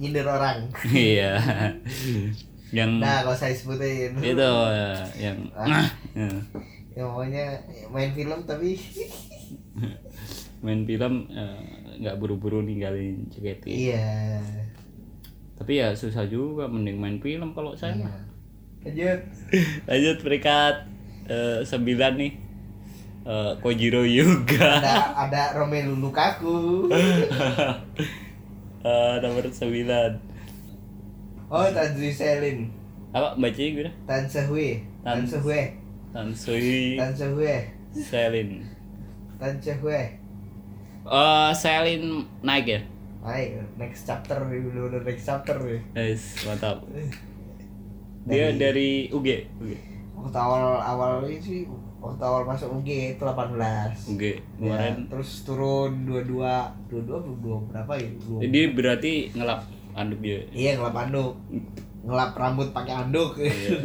Speaker 3: Nyindir orang
Speaker 2: iya. yang
Speaker 3: Nah kalau saya sebutin
Speaker 2: itu ya, yang
Speaker 3: Ah.
Speaker 2: Ya.
Speaker 3: Ya pokoknya main film tapi
Speaker 2: Iya. main film eh, nggak buru-buru ninggalin JKT
Speaker 3: Iya
Speaker 2: tapi ya susah juga mending main film kalau saya
Speaker 3: Iya.
Speaker 2: mah.
Speaker 3: Lanjut
Speaker 2: lanjut peringkat eh, sembilan nih Eh, Kojiro Yuga
Speaker 3: Ada, ada Romelu Lukaku Nah.
Speaker 2: Eh, nomor sembilan
Speaker 3: Oh Tanzui Selin
Speaker 2: apa bacanya gue
Speaker 3: Tan Sehui Tan
Speaker 2: Tan-
Speaker 3: Sehui
Speaker 2: Tansui
Speaker 3: Tan Sehui
Speaker 2: Selin
Speaker 3: Tan Sehui
Speaker 2: Eh, Selin naik ya
Speaker 3: Ayo, next chapter, bener-bener next chapter nih.
Speaker 2: Nice, mantap
Speaker 3: Eh.
Speaker 2: dia dari UG UG
Speaker 3: Waktu awal awal ini sih, waktu awal masuk UG itu 18.
Speaker 2: UG
Speaker 3: Ya,
Speaker 2: kemarin
Speaker 3: terus turun 22, 22 belum dua berapa ya? Dua.
Speaker 2: jadi berarti ngelap anduk dia
Speaker 3: Iya, ngelap anduk. Ngelap rambut pakai anduk.
Speaker 2: Iya.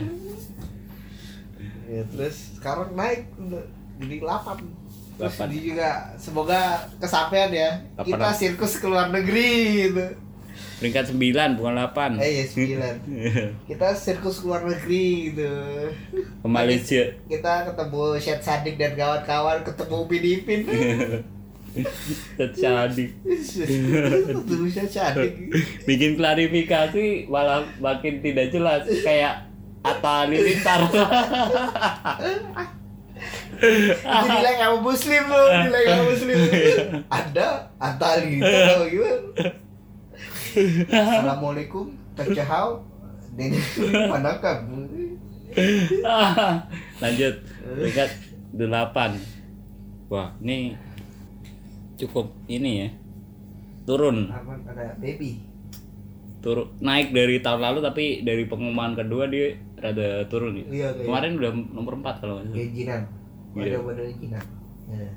Speaker 3: ya, terus sekarang naik udah jadi 8. Terus
Speaker 2: Delapan.
Speaker 3: dia juga semoga kesampaian ya.
Speaker 2: Delapan.
Speaker 3: Kita sirkus ke luar negeri gitu.
Speaker 2: peringkat sembilan bukan delapan
Speaker 3: Eh, iya. ya 9. Kita sirkus ke luar negeri gitu.
Speaker 2: ke Malaysia
Speaker 3: kita ketemu Syed Sadik dan kawan-kawan ketemu Upin Ipin
Speaker 2: terjadi
Speaker 3: ketemu Syed Sadik
Speaker 2: bikin klarifikasi malah makin tidak jelas kayak Atta Halilintar
Speaker 3: jadi like kamu muslim loh jadi like kamu muslim ada Atali gitu apa gimana Assalamualaikum Tacahau Dede mana kamu
Speaker 2: lanjut peringkat delapan wah ini cukup ini ya turun
Speaker 3: apa ada baby
Speaker 2: turun naik dari tahun lalu tapi dari pengumuman kedua dia rada turun ya.
Speaker 3: iya kayak
Speaker 2: kemarin udah nomor empat kalau nggak salah.
Speaker 3: Jinan
Speaker 2: Iya. Hmm.
Speaker 3: model model Jinan Ya.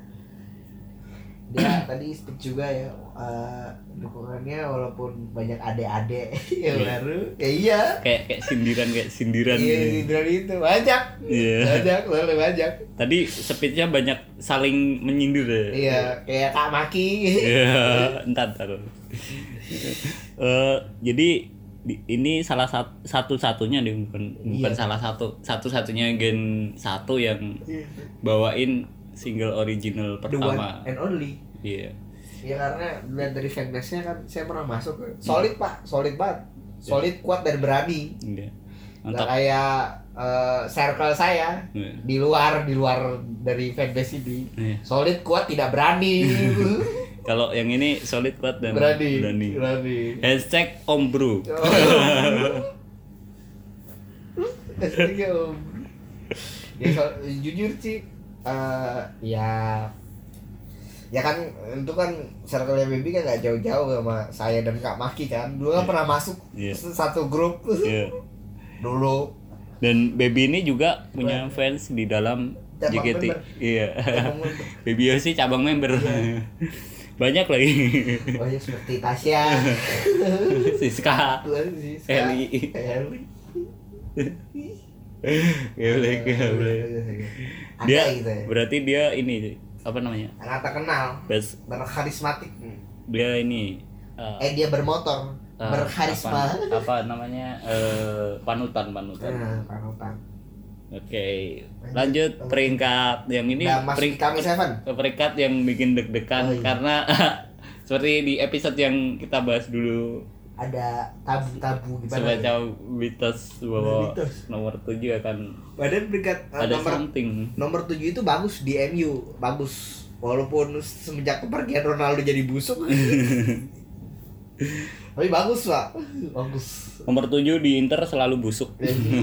Speaker 3: dia tadi speak juga ya eh, dukungannya walaupun banyak adik-adik yang
Speaker 2: Iya.
Speaker 3: baru ya iya
Speaker 2: kayak kayak sindiran kayak sindiran
Speaker 3: Iya,
Speaker 2: gitu.
Speaker 3: sindiran itu banyak.
Speaker 2: Iya.
Speaker 3: Banyak, boleh banyak.
Speaker 2: Tadi speednya banyak saling menyindir ya.
Speaker 3: Iya, kayak Kak Maki.
Speaker 2: Iya, entar entar. Eh, jadi di- ini salah sat- satu-satunya nih bukan bukan
Speaker 3: Iya.
Speaker 2: salah satu satu-satunya gen satu yang bawain single original
Speaker 3: Iya. The one
Speaker 2: pertama.
Speaker 3: and only.
Speaker 2: Iya.
Speaker 3: Ya karena dilihat dari fanbase-nya kan saya pernah masuk. Solid, Pak. Solid banget. Solid, kuat dan berani.
Speaker 2: Iya.
Speaker 3: Nggak
Speaker 2: Mantap.
Speaker 3: kayak eh, circle saya
Speaker 2: Iya.
Speaker 3: di luar di luar dari fanbase ini.
Speaker 2: Iya.
Speaker 3: Solid, kuat, tidak berani.
Speaker 2: Kalau yang ini solid kuat dan Eh.
Speaker 3: berani. Berani. Ya. Oh.
Speaker 2: Hashtag Om Bro.
Speaker 3: Aslinya, Iya, Om. ya kalau- jujur sih eh, ya ya kan itu kan circle baby kan gak jauh-jauh sama saya dan Kak Maki kan dulu kan pernah masuk
Speaker 2: Iya.
Speaker 3: satu grup
Speaker 2: Iya.
Speaker 3: dulu
Speaker 2: Dan Baby ini juga punya fans di dalam
Speaker 3: Cabang
Speaker 2: JKT.
Speaker 3: member.
Speaker 2: Iya.
Speaker 3: Cabang Iya. member.
Speaker 2: Baby Yosi cabang member. Banyak lagi.
Speaker 3: oh ya seperti Tasya
Speaker 2: Siska.
Speaker 3: Lalu si Ska,
Speaker 2: Eli.
Speaker 3: Eli
Speaker 2: Geblek, geblek.
Speaker 3: ada
Speaker 2: Dia
Speaker 3: gitu ya
Speaker 2: berarti dia ini apa namanya?
Speaker 3: anak terkenal
Speaker 2: Bas,
Speaker 3: berkarismatik
Speaker 2: dia ini uh,
Speaker 3: eh dia bermotor
Speaker 2: uh,
Speaker 3: berkarisma
Speaker 2: Apa, apa namanya? Eh, panutan, panutan.
Speaker 3: Nah, panutan.
Speaker 2: Oke. Lanjut peringkat yang ini
Speaker 3: Nah, Mas
Speaker 2: peringkat
Speaker 3: kami Seven.
Speaker 2: peringkat yang bikin deg-degan
Speaker 3: Oh, iya.
Speaker 2: karena seperti di episode yang kita bahas dulu
Speaker 3: ada tabu-tabu gimana
Speaker 2: Sebaca Beatles bahwa
Speaker 3: Beatles.
Speaker 2: nomor 7 akan
Speaker 3: Padahal peringkat eh,
Speaker 2: ada
Speaker 3: nomor
Speaker 2: something.
Speaker 3: nomor 7 itu bagus di MU, bagus. Walaupun semenjak kepergian Ronaldo jadi busuk. Tapi bagus, Pak. Bagus.
Speaker 2: Nomor 7 di Inter selalu busuk.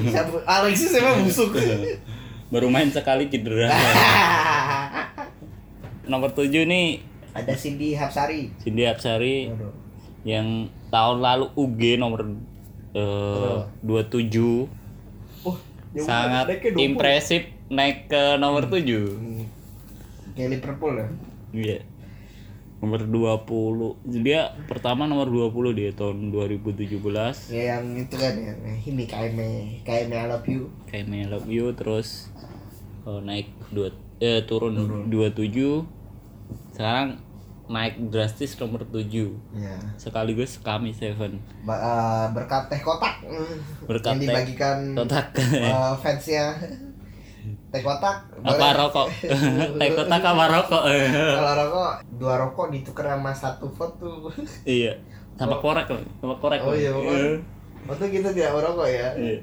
Speaker 3: Siapa- Alexis emang busuk.
Speaker 2: Baru main sekali cedera. nomor 7 nih
Speaker 3: ada Cindy Hapsari.
Speaker 2: Cindy Absari
Speaker 3: Waduh.
Speaker 2: yang tahun lalu UG nomor
Speaker 3: Hmm.
Speaker 2: eh, 27
Speaker 3: Oh, dia
Speaker 2: sangat
Speaker 3: naiknya 20.
Speaker 2: impresif naik ke nomor 7.
Speaker 3: Hmm. Kayak Liverpool ya.
Speaker 2: Iya. Nomor 20. Dia pertama nomor 20 dia tahun 2017.
Speaker 3: Ya yang itu kan ya. Himi Kaime, Kaime I love you.
Speaker 2: Kayak I Love You terus eh, naik dua eh, turun, 27. Sekarang naik drastis nomor 7.
Speaker 3: Ya.
Speaker 2: Sekaligus kami Seven.
Speaker 3: Ba- eh, berkat teh kotak. hmm,
Speaker 2: Berkat
Speaker 3: yang
Speaker 2: teh
Speaker 3: dibagikan
Speaker 2: Kotak.
Speaker 3: eh, fansnya teh kotak.
Speaker 2: apa
Speaker 3: boleh.
Speaker 2: rokok? Teh kotak apa rokok?
Speaker 3: Kalau rokok dua rokok ditukar sama satu foto.
Speaker 2: iya. Sama korek, sama korek.
Speaker 3: Oh iya,
Speaker 2: Iya.
Speaker 3: Foto kita tidak merokok ya.
Speaker 2: Iya.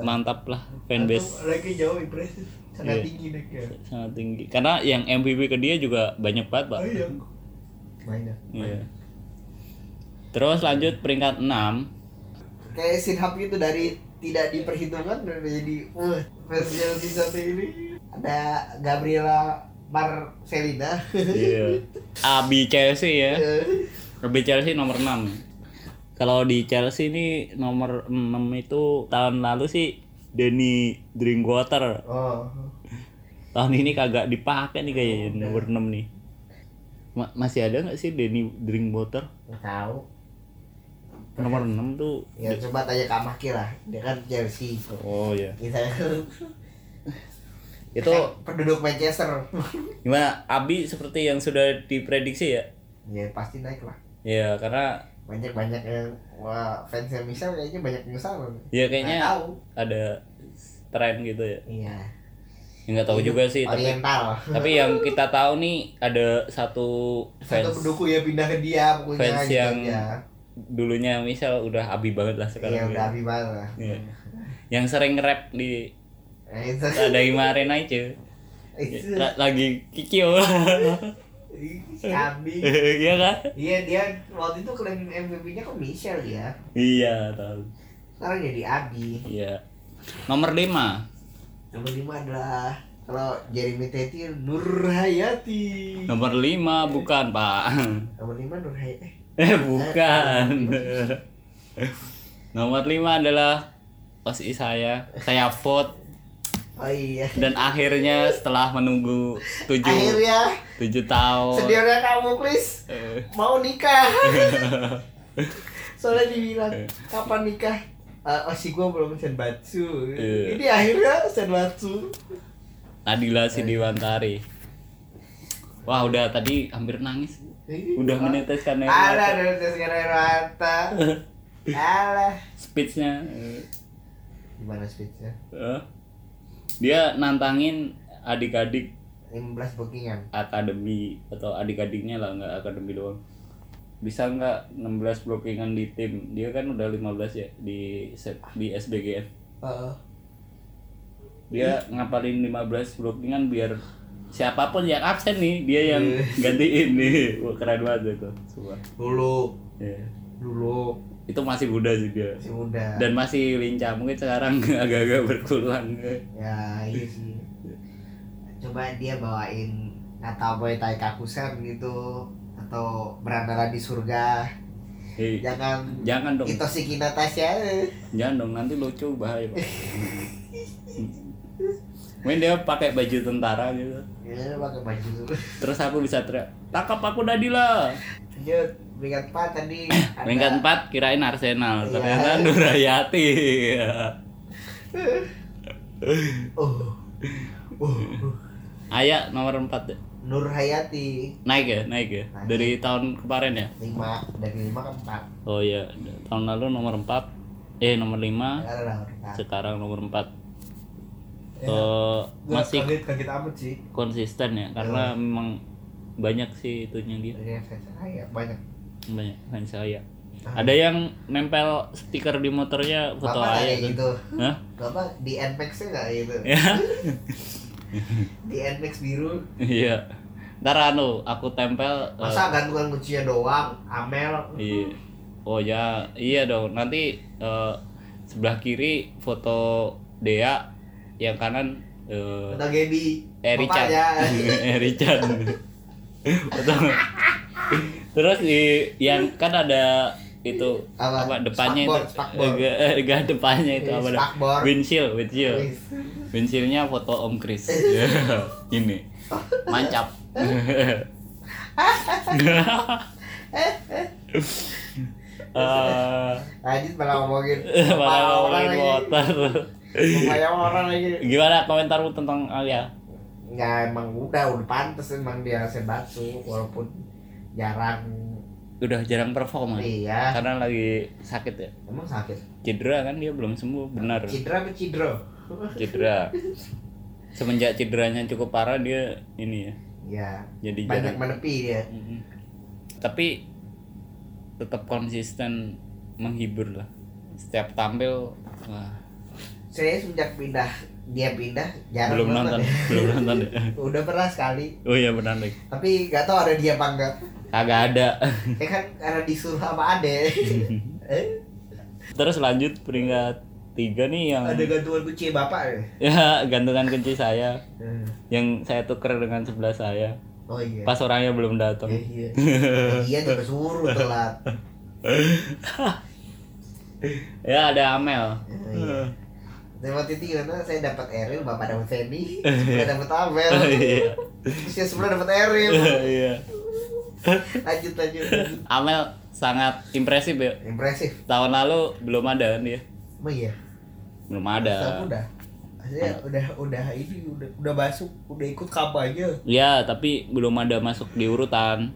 Speaker 2: Mantap lah fanbase.
Speaker 3: Atau Lagi jauh impresif. Sangat
Speaker 2: Iya.
Speaker 3: tinggi naiknya.
Speaker 2: sangat tinggi karena yang MVP ke dia juga banyak banget pak
Speaker 3: Oh iya. Mainnya.
Speaker 2: Iya. terus lanjut peringkat 6
Speaker 3: Kayak sinhap gitu dari tidak diperhitungkan dan jadi uh, versi yang di satu ini ada Gabriela Marcelina.
Speaker 2: iya Abi Chelsea ya
Speaker 3: Eh,
Speaker 2: Abi Chelsea nomor 6 kalau di Chelsea ini nomor 6 itu tahun lalu sih Denny Drinkwater
Speaker 3: oh.
Speaker 2: tahun ini kagak dipakai nih kayaknya nomor 6 nih Ma- masih ada nggak sih Denny Drinkwater
Speaker 3: Nggak tahu.
Speaker 2: nomor 6 tuh
Speaker 3: Ya coba tanya Kak Maki lah. Dia kan Chelsea.
Speaker 2: oh ya
Speaker 3: Kita kan
Speaker 2: itu
Speaker 3: penduduk Manchester.
Speaker 2: gimana Abi seperti yang sudah diprediksi ya
Speaker 3: ya pasti naik lah.
Speaker 2: Iya, karena
Speaker 3: banyak banyak yang wah fans yang misal kayaknya banyak yang salah
Speaker 2: ya kayaknya
Speaker 3: Nggak tahu.
Speaker 2: ada tren gitu ya.
Speaker 3: iya
Speaker 2: Ya, Nggak tahu juga sih, tapi
Speaker 3: oriental
Speaker 2: tapi yang kita tahu nih ada satu fans
Speaker 3: satu pendukung ya pindah ke dia pokoknya
Speaker 2: fans
Speaker 3: gitu
Speaker 2: yang
Speaker 3: aja.
Speaker 2: dulunya misal udah abi banget lah
Speaker 3: iya
Speaker 2: sekarang.
Speaker 3: udah
Speaker 2: ya.
Speaker 3: habis banget lah
Speaker 2: Iya. Yang sering rap di
Speaker 3: Nah, itu
Speaker 2: ada Imaren aja.
Speaker 3: itu
Speaker 2: La- Lagi kikio.
Speaker 3: kami
Speaker 2: Iya kan?
Speaker 3: iya dia waktu itu klaim MVP nya kok Michel ya
Speaker 2: Iya, tahu.
Speaker 3: sekarang jadi Abi
Speaker 2: Iya. Nomor 5.
Speaker 3: nomor lima adalah kalau Jeremy Teti Nur Hayati
Speaker 2: Nomor 5 bukan, Pak.
Speaker 3: nomor lima Nur Hayati
Speaker 2: Eh, bukan. Nomor 5 adalah pasti saya. Saya vote
Speaker 3: oh iya
Speaker 2: dan akhirnya setelah menunggu 7
Speaker 3: akhirnya
Speaker 2: 7 tahun
Speaker 3: seniornya kamu please
Speaker 2: eh,
Speaker 3: mau nikah soalnya dibilang kapan nikah Eh, oh si gue belum senbatsu
Speaker 2: Iya.
Speaker 3: ini akhirnya senbatsu
Speaker 2: Nadila Sidiwantari. Wah, udah tadi hampir nangis.
Speaker 3: Iya.
Speaker 2: Udah meneteskan ya, air
Speaker 3: ada
Speaker 2: mata.
Speaker 3: ada ada sekarang air mata alah
Speaker 2: Speech-nya. eh,
Speaker 3: gimana speechnya
Speaker 2: eh. Dia nantangin adik-adik
Speaker 3: 15 bookingan
Speaker 2: akademi atau adik-adiknya lah nggak akademi doang bisa nggak 16 blockingan di tim dia kan udah 15 ya di se- di SBGN
Speaker 3: Heeh.
Speaker 2: dia ngapalin 15 blockingan biar siapapun yang absen nih dia yang gantiin nih Wah, keren banget itu semua
Speaker 3: dulu
Speaker 2: Iya.
Speaker 3: dulu
Speaker 2: itu masih muda sih dia
Speaker 3: masih muda
Speaker 2: dan masih lincah mungkin sekarang agak-agak berkurang
Speaker 3: ya iya sih coba dia bawain kata boy tai kakusen gitu atau berandara di surga
Speaker 2: Hei,
Speaker 3: jangan
Speaker 2: jangan dong
Speaker 3: Itu si Natasha
Speaker 2: Jangan dong, nanti lucu bahaya pak Mungkin dia pakai baju tentara gitu
Speaker 3: Ya, pakai baju dulu.
Speaker 2: Terus aku bisa teriak Tangkap aku Nadila
Speaker 3: Lanjut, peringkat 4 tadi ada-
Speaker 2: Peringkat 4 kirain Arsenal
Speaker 3: Iya.
Speaker 2: Ternyata Nurayati Iya.
Speaker 3: Oh. Oh.
Speaker 2: Ayak nomor 4
Speaker 3: Nur Hayati
Speaker 2: Naik ya, naik ya
Speaker 3: Naik.
Speaker 2: Dari tahun kemarin ya
Speaker 3: 5 dari 5 ke 4.
Speaker 2: Oh iya, tahun lalu nomor 4 Eh nomor 5
Speaker 3: Ada lah nah. peringkat.
Speaker 2: Sekarang nomor 4
Speaker 3: Ya,
Speaker 2: Eh,
Speaker 3: gua Iya.
Speaker 2: Masih
Speaker 3: kaget kaget amat sih.
Speaker 2: konsisten ya Karena memang banyak sih itunya dia
Speaker 3: Dari fans saya iya, banyak.
Speaker 2: banyak fans saya Ada yang nempel stiker di motornya foto
Speaker 3: Ah.
Speaker 2: ayah
Speaker 3: Bapak kayak
Speaker 2: tuh.
Speaker 3: gitu.
Speaker 2: Hah?
Speaker 3: Bapak di NPX-nya nggak gitu?
Speaker 2: Ya.
Speaker 3: Di NPX biru.
Speaker 2: Iya. Ntar anu aku tempel eh,
Speaker 3: Masa gantungan kuncinya doang, Amel.
Speaker 2: Iya. Oh ya, iya dong. Nanti eh, sebelah kiri foto Dea, yang kanan eh
Speaker 3: Atau Gaby.
Speaker 2: eh, Richard.
Speaker 3: Bapaknya.
Speaker 2: Eh, Richard. Foto- Terus di yang kan ada itu
Speaker 3: Apa?
Speaker 2: apa, depannya itu eh,
Speaker 3: Spakbor, spakbor.
Speaker 2: enggak enggak depannya itu
Speaker 3: Iya,
Speaker 2: apa dah?
Speaker 3: spakbor.
Speaker 2: windshield windshield windshieldnya foto Om Chris Ya, ini mancap Eh,
Speaker 3: Lanjut malah ngomongin.
Speaker 2: malah ngomongin
Speaker 3: lagi.
Speaker 2: motor
Speaker 3: Pokoknya orang lagi.
Speaker 2: gimana komentarmu tentang Alia
Speaker 3: Nggak emang udah, udah pantas emang dia sebatsu walaupun jarang
Speaker 2: udah jarang perform kan?
Speaker 3: iya
Speaker 2: karena lagi sakit ya
Speaker 3: emang sakit
Speaker 2: cedera kan dia belum sembuh benar
Speaker 3: cedera apa cedera
Speaker 2: cedera semenjak cederanya cukup parah dia ini ya
Speaker 3: ya
Speaker 2: jadi
Speaker 3: banyak
Speaker 2: jarang
Speaker 3: menepi dia
Speaker 2: Mm-mm. tapi tetap konsisten menghibur lah setiap tampil wah,
Speaker 3: saya sejak pindah dia pindah jarang
Speaker 2: belum nonton
Speaker 3: ya.
Speaker 2: belum nonton ya
Speaker 3: udah pernah sekali
Speaker 2: oh iya benar deh
Speaker 3: tapi nggak tahu ada dia apa enggak
Speaker 2: kagak ada
Speaker 3: ya kan karena disuruh sama ade eh,
Speaker 2: terus lanjut peringkat tiga nih yang
Speaker 3: ada gantungan kunci bapak ya
Speaker 2: ya gantungan kunci saya
Speaker 3: Hmm.
Speaker 2: yang saya tuker dengan sebelah saya
Speaker 3: oh iya
Speaker 2: pas orangnya belum datang
Speaker 3: Iya, iya. Iya juga suruh telat.
Speaker 2: ya ada Amel
Speaker 3: Iya. Dan waktu itu gimana saya dapat Eril, bapak dapat Feby, saya dapat Abel,
Speaker 2: Iya.
Speaker 3: terus yang sebelah dapat Eril.
Speaker 2: iya
Speaker 3: Lanjut lanjut. lanjut.
Speaker 2: Amel sangat impresif ya
Speaker 3: Impresif.
Speaker 2: tahun lalu belum ada kan dia
Speaker 3: Emang iya.
Speaker 2: belum
Speaker 3: Saya
Speaker 2: ada
Speaker 3: udah. Saya udah udah ini udah udah masuk, udah ikut kampanye.
Speaker 2: ya tapi belum ada masuk di urutan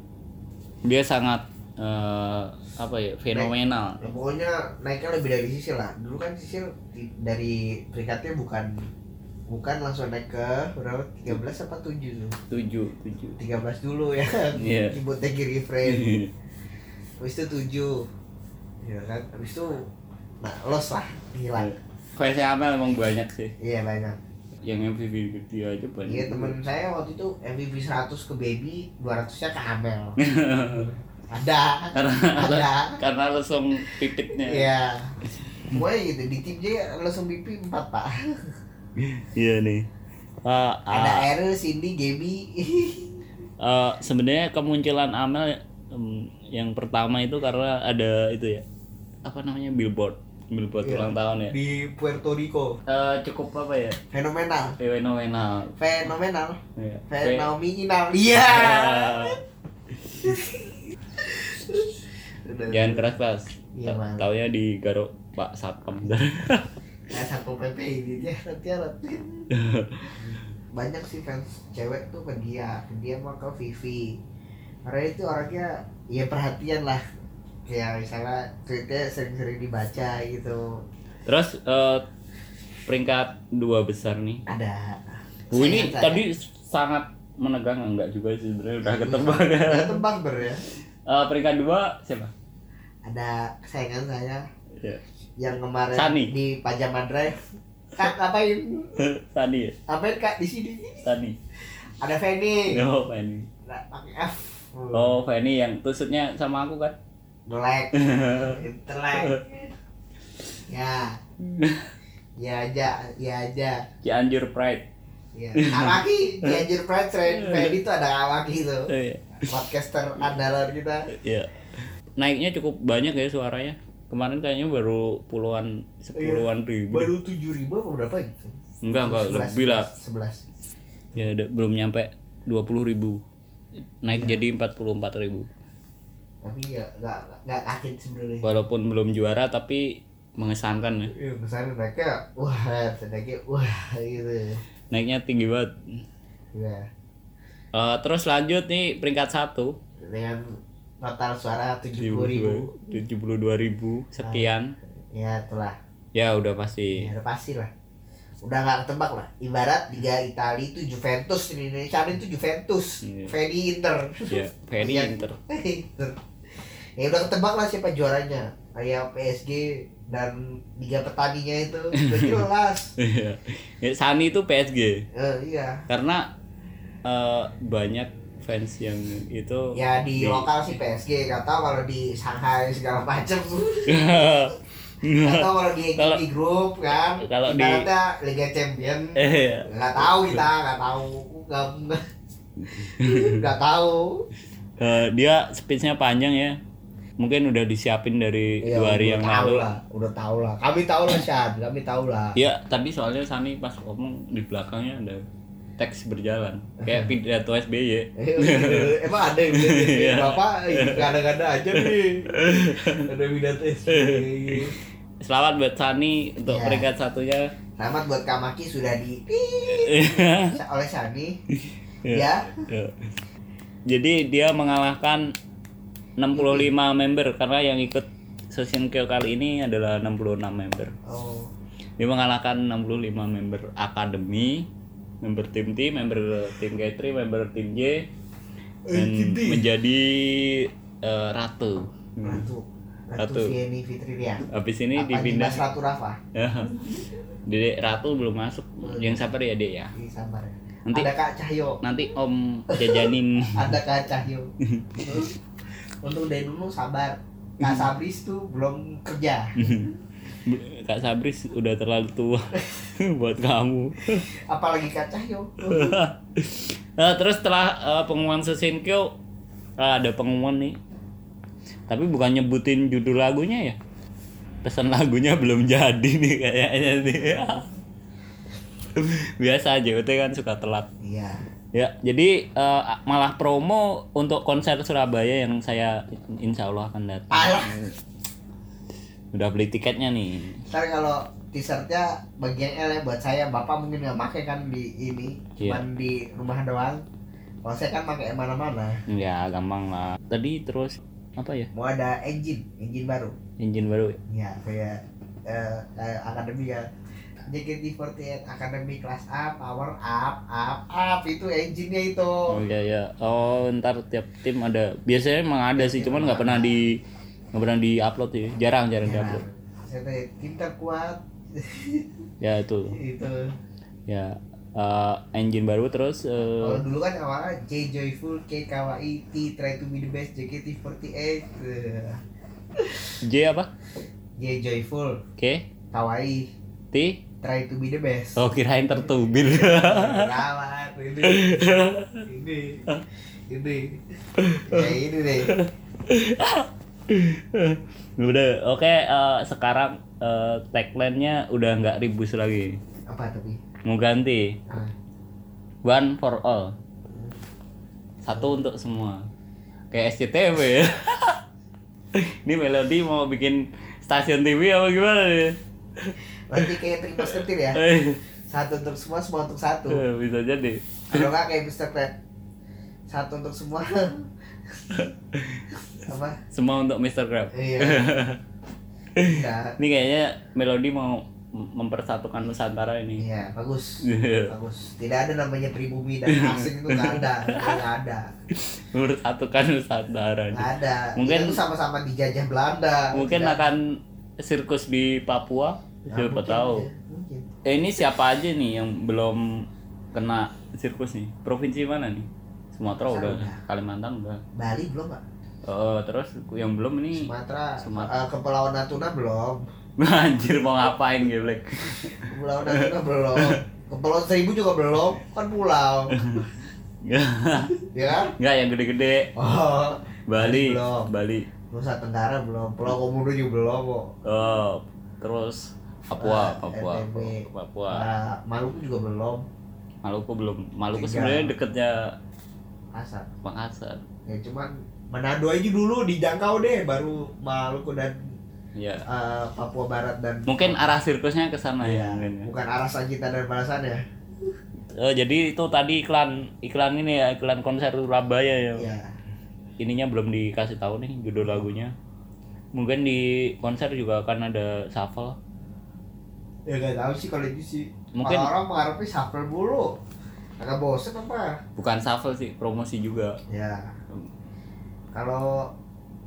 Speaker 2: dia sangat eh, apa ya fenomenal
Speaker 3: Ya, pokoknya naiknya lebih dari Sisil lah. Dulu kan Sisil di- dari peringkatnya bukan bukan langsung naik ke berapa 13 apa 7 tuh.
Speaker 2: tujuh tujuh
Speaker 3: 13 dulu ya.
Speaker 2: Iya.
Speaker 3: Keyboardnya kiri frame. Habis itu tujuh Ya kan Habis itu Nah los lah Hilang
Speaker 2: Iya. fansnya Amel emang banyak sih
Speaker 3: Iya banyak
Speaker 2: yang MVP dia aja banyak
Speaker 3: Iya temen saya waktu itu MVP 100 ke Baby 200 nya ke Amel Ada Ada
Speaker 2: karena langsung titiknya
Speaker 3: Iya Pokoknya gitu Di tim J langsung BP 4 pak
Speaker 2: Ah. iya nih Ah,
Speaker 3: Ada
Speaker 2: ah,
Speaker 3: Eril, Cindy, Gaby
Speaker 2: eh, sebenarnya kemunculan Amel em, yang pertama itu karena ada itu ya apa namanya billboard billboard
Speaker 3: Iya.
Speaker 2: ulang tahun ya
Speaker 3: Di Puerto Rico
Speaker 2: Eh, cukup apa ya
Speaker 3: Fenomenal
Speaker 2: fenomenal
Speaker 3: Fenomenal
Speaker 2: Iya.
Speaker 3: Fenomenal Iya
Speaker 2: Eh,
Speaker 3: Udah.
Speaker 2: jangan keras keras
Speaker 3: Iya, Mas.
Speaker 2: taunya di garuk pak satpam
Speaker 3: Ya satu PP ini dia nanti harap. Banyak sih fans cewek tuh ke dia, ke dia mah ke Vivi. Karena itu orangnya ya perhatian lah. Kayak misalnya tweetnya sering-sering dibaca gitu.
Speaker 2: terus eh, peringkat dua besar nih
Speaker 3: Ada.
Speaker 2: Bu ini
Speaker 3: Saya- Iya.
Speaker 2: tadi sangat menegang enggak juga sih sebenarnya udah ketebak.
Speaker 3: Ada tebak ber ya.
Speaker 2: Eh, peringkat dua siapa?
Speaker 3: Ada kesayangan saya Iya.
Speaker 2: Ya.
Speaker 3: yang kemarin
Speaker 2: Sani.
Speaker 3: di Pajama Drive. Kak, ngapain?
Speaker 2: Tani ya?
Speaker 3: Ngapain Kak di sini?
Speaker 2: Tani.
Speaker 3: Ada Feni.
Speaker 2: Oh, Fanny.
Speaker 3: Nah, pakai F.
Speaker 2: Oh, Fanny yang tusuknya sama aku kan?
Speaker 3: Black. Intelek. Ya.
Speaker 2: Hmm.
Speaker 3: Ya aja, ya aja.
Speaker 2: Cianjur Pride.
Speaker 3: Ya. Awaki, Gianjur Pride Train Fedi itu ada Awaki itu.
Speaker 2: Oh, iya.
Speaker 3: Podcaster andalan kita.
Speaker 2: Iya. Naiknya cukup banyak ya suaranya. Kemarin kayaknya baru puluhan, sepuluhan ribu.
Speaker 3: Baru 7000 ribu apa berapa gitu?
Speaker 2: Enggak, enggak, lebih lah.
Speaker 3: 11.
Speaker 2: Ya, ada- belum nyampe 20 ribu. Naik jadi 44 ribu.
Speaker 3: Tapi ya nggak nggak kaget sebenarnya.
Speaker 2: Walaupun belum juara tapi mengesankan ya.
Speaker 3: Iya, besar mereka wah, sedikit wah gitu.
Speaker 2: Naiknya tinggi banget.
Speaker 3: Ya.
Speaker 2: Eh, terus lanjut nih peringkat satu
Speaker 3: Dengan total suara 70 ribu.
Speaker 2: 72.000 sekian
Speaker 3: Ya, itulah.
Speaker 2: ya udah pasti
Speaker 3: Ya, udah pasti lah. Udah gak ketebak lah. Ibarat Liga Itali itu Juventus di Indonesia ada itu Juventus.
Speaker 2: Iya.
Speaker 3: Fedi Inter.
Speaker 2: ya Ferry
Speaker 3: Iya.
Speaker 2: Inter
Speaker 3: Inter. ya udah ketebak lah siapa juaranya kayak PSG dan liga petaninya itu udah jelas
Speaker 2: Iya. Ya, Sani itu PSG
Speaker 3: Eh, iya
Speaker 2: karena eh, banyak fans yang itu
Speaker 3: ya di lokal sih PSG nggak tahu kalau di Shanghai segala macam
Speaker 2: Eh, iya.
Speaker 3: nggak tahu kalau di
Speaker 2: Kalau-
Speaker 3: di grup kan
Speaker 2: kalau di-
Speaker 3: ibaratnya Liga Champion
Speaker 2: Iya.
Speaker 3: nggak tahu kita nggak tahu nggak nggak- nggak tahu
Speaker 2: Eh, dia speechnya panjang ya mungkin udah disiapin dari
Speaker 5: Iya,
Speaker 3: Ya,
Speaker 2: dua hari
Speaker 5: udah
Speaker 2: yang
Speaker 5: tahu
Speaker 2: lalu
Speaker 5: lah, udah tahu lah. Kami tahu lah, Syad. Kami tahu lah.
Speaker 2: Iya, tapi soalnya Sani pas ngomong di belakangnya ada teks berjalan kayak pidato SBY.
Speaker 3: Eh,
Speaker 5: Emang ada yang bilang gitu?
Speaker 2: Iya.
Speaker 5: Bapak gada-gada aja nih. Ada pidato SBY.
Speaker 2: Selamat buat Sani untuk
Speaker 3: Iya.
Speaker 2: peringkat satunya.
Speaker 3: selamat buat Kamaki sudah di oleh Sani
Speaker 2: Iya.
Speaker 3: ya
Speaker 2: Iya. Jadi dia mengalahkan 65 member karena yang ikut session Kyo kali ini adalah 66 member.
Speaker 3: oh
Speaker 2: Dia mengalahkan 65 member akademi, member tim T, member tim K3, member tim
Speaker 3: Eh,
Speaker 2: J dan menjadi eh, ratu.
Speaker 3: Ratu
Speaker 2: Ratu.
Speaker 3: Ratu Vieni Fitriya
Speaker 2: Habis ini
Speaker 3: Apa
Speaker 2: dipindah
Speaker 3: Dimas Ratu Rafa
Speaker 2: Dedek Ratu belum masuk. Yang sabar ya, Dek ya.
Speaker 3: di Sambar
Speaker 2: Nanti-
Speaker 3: ada Kak Cahyo
Speaker 2: Nanti Om jajanin.
Speaker 3: ada Kak Cahyo Terus, untuk dari dulu sabar Kak
Speaker 2: Hmm.
Speaker 3: Sabris tuh belum kerja
Speaker 2: Kak Sabris udah terlalu tua buat kamu.
Speaker 3: apalagi Kak Cahyo
Speaker 2: Nah, terus setelah eh, pengumuman Sesenkyo ada pengumuman nih. Tapi bukan nyebutin judul lagunya ya. Pesan lagunya belum jadi nih kayaknya nih. Biasa aja, itu kan suka telat.
Speaker 3: iya
Speaker 2: Ya, jadi eh, malah promo untuk konser Surabaya yang saya insya Allah akan datang.
Speaker 3: alah
Speaker 2: Udah beli tiketnya nih.
Speaker 3: ntar kalau t-shirtnya bagian L ya buat saya bapak mungkin nggak pakai kan di ini
Speaker 2: Iya.
Speaker 3: cuman di rumah doang kalau saya kan pakai yang mana-mana
Speaker 2: Ya, gampang lah. Tadi terus apa ya?
Speaker 3: mau ada engine engine baru
Speaker 2: Engine baru.
Speaker 3: ya kayak eh, kayak akademi ya JKT48 akademi kelas A power up up up itu engine-nya itu
Speaker 2: Oh iya ya. Oh, ntar tiap tim ada. Biasanya emang ada sih, cuman nggak pernah di nggak pernah di-upload sih. Jarang, jarang
Speaker 3: ya,
Speaker 2: di-upload.
Speaker 3: saya tanya, tim terkuat gitu.
Speaker 2: Ya itu.
Speaker 3: itu
Speaker 2: Ya eh, engine baru terus eh,
Speaker 3: kalau dulu kan awalnya J Joyful K Kawaii T Try to be the best JKT48 eh,
Speaker 2: J apa?
Speaker 3: J Joyful
Speaker 2: Oke.
Speaker 3: Kawaii
Speaker 2: T.
Speaker 3: Try to be the best
Speaker 2: Oh, kirain tertubil.
Speaker 3: Rawat ini. Ini. Ini. Ya ini deh.
Speaker 2: udah oke eh, sekarang eh, tagline-nya udah nggak ribus lagi
Speaker 3: Apa tapi?
Speaker 2: mau ganti
Speaker 3: Ah,
Speaker 2: one for all satu untuk semua kayak SCTV ya ini Melody mau bikin stasiun TV apa gimana nih
Speaker 3: Nanti kayak trik musketir ya.
Speaker 2: Eh,
Speaker 3: Satu untuk semua, semua untuk satu.
Speaker 2: eh, bisa jadi
Speaker 3: Kalau nggak kayak Mr. Krab. Satu untuk semua. Apa?
Speaker 2: semua untuk Mr. Crab
Speaker 3: Iya. Iya.
Speaker 2: ini kayaknya Melody mau mempersatukan Nusantara ini
Speaker 3: Iya, bagus.
Speaker 2: Iya.
Speaker 3: Bagus. Tidak ada namanya pribumi dan asing itu nggak ada. Nggak ada.
Speaker 2: mempersatukan Nusantara
Speaker 3: Nggak ada.
Speaker 2: Mungkin-
Speaker 3: Kita tuh sama-sama dijajah Belanda.
Speaker 2: mungkin
Speaker 3: Tidak-
Speaker 2: akan sirkus di Papua
Speaker 3: Nah,
Speaker 2: siapa
Speaker 3: mungkin
Speaker 2: tahu
Speaker 3: aja. Mungkin.
Speaker 2: Eh, ini siapa aja nih yang belum kena sirkus nih? Provinsi mana nih? Sumatera udah,
Speaker 3: Udah.
Speaker 2: Kalimantan udah.
Speaker 3: Bali belum, Pak?
Speaker 2: Eh, terus yang belum ini
Speaker 3: Sumatera,
Speaker 2: Sumatera.
Speaker 3: eh, Kepulauan Natuna belum,
Speaker 2: anjir mau ngapain geblek.
Speaker 3: Kepulauan Natuna belum, Kepulauan Seribu juga belum, kan pulau, ya kan?
Speaker 2: Enggak yang gede-gede.
Speaker 3: Oh,
Speaker 2: Bali,
Speaker 3: Belum.
Speaker 2: Bali.
Speaker 3: Nusa Tenggara belum, Pulau Komodo juga belum kok.
Speaker 2: Eh, terus Papua,
Speaker 3: Ah,
Speaker 2: Papua,
Speaker 3: NTB.
Speaker 2: Papua.
Speaker 3: Eh, Maluku juga belum,
Speaker 2: Maluku belum. Maluku
Speaker 3: Tiga.
Speaker 2: sebenarnya deketnya
Speaker 3: Asal.
Speaker 2: Makassar.
Speaker 3: Ya cuman Manado aja dulu dijangkau deh, baru Maluku dan
Speaker 2: Ya.
Speaker 3: eh, Papua Barat dan
Speaker 2: Mungkin arah sirkusnya ke sana ya.
Speaker 3: ya,
Speaker 2: mungkin ya.
Speaker 3: bukan arah Sagita dan balasannya.
Speaker 2: Eh, jadi itu tadi iklan iklan ini ya, iklan konser Surabaya ya.
Speaker 3: Ya,
Speaker 2: ininya belum dikasih tahu nih judul lagunya mungkin di konser juga akan ada shuffle
Speaker 3: ya gak tahu sih kalau itu sih.
Speaker 2: Mungkin-
Speaker 3: Kalau orang mengharapnya shuffle mulu, agak bosen apa?
Speaker 2: bukan shuffle sih promosi juga
Speaker 3: Ya. Kalau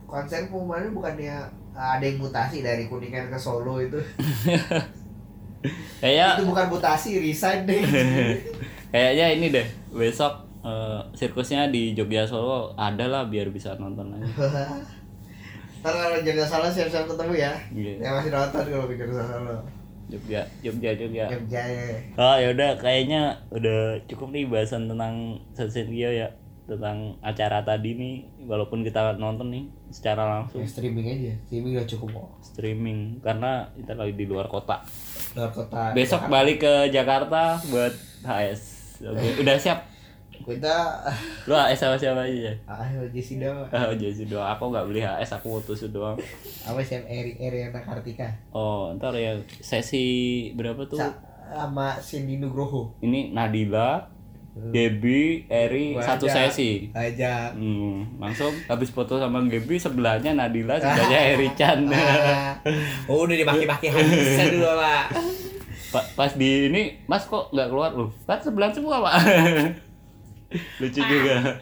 Speaker 3: konser pengumumannya bukannya eh, ada yang mutasi dari kuningan ke Solo itu itu
Speaker 2: Kayaknya
Speaker 3: bukan mutasi resign deh
Speaker 2: kayaknya ini deh besok eh, sirkusnya di Jogja Solo ada lah biar bisa nonton aja.
Speaker 3: ntar kalau jaga salah siap-siap ketemu ya
Speaker 2: Iya.
Speaker 3: ya masih nonton kalau pikir salah
Speaker 2: Jogja, Jogja, Jogja.
Speaker 3: Jogja ya
Speaker 2: Oh ya udah kayaknya udah cukup nih bahasan tentang Sensei ya tentang acara tadi nih walaupun kita nonton nih secara langsung
Speaker 6: Ya, streaming aja streaming udah cukup kok
Speaker 2: streaming karena kita lagi di luar kota
Speaker 6: luar kota
Speaker 3: Ya.
Speaker 2: besok balik ke Jakarta buat HS Oke, udah siap
Speaker 6: kita
Speaker 3: ah,
Speaker 2: lu HS sama siapa aja
Speaker 6: ah Jesse Dawa
Speaker 2: oh, jadi doang aku nggak beli HS aku putus doang
Speaker 6: apa sih yang Eri Eriana Kartika
Speaker 2: oh ntar ya sesi berapa tuh
Speaker 6: Sa- sama Cindy Nugroho
Speaker 2: ini Nadila Debbie Eri
Speaker 6: Gua
Speaker 2: satu
Speaker 6: aja.
Speaker 2: sesi
Speaker 6: aja
Speaker 2: Hmm, langsung habis foto sama Gaby sebelahnya Nadila sebelahnya Eri Chan.
Speaker 6: Ah. oh udah dibaki-baki habis dulu pak
Speaker 2: Pa- pas di ini Mas kok nggak keluar lu? Kan sebelah semua pak. Lucu juga.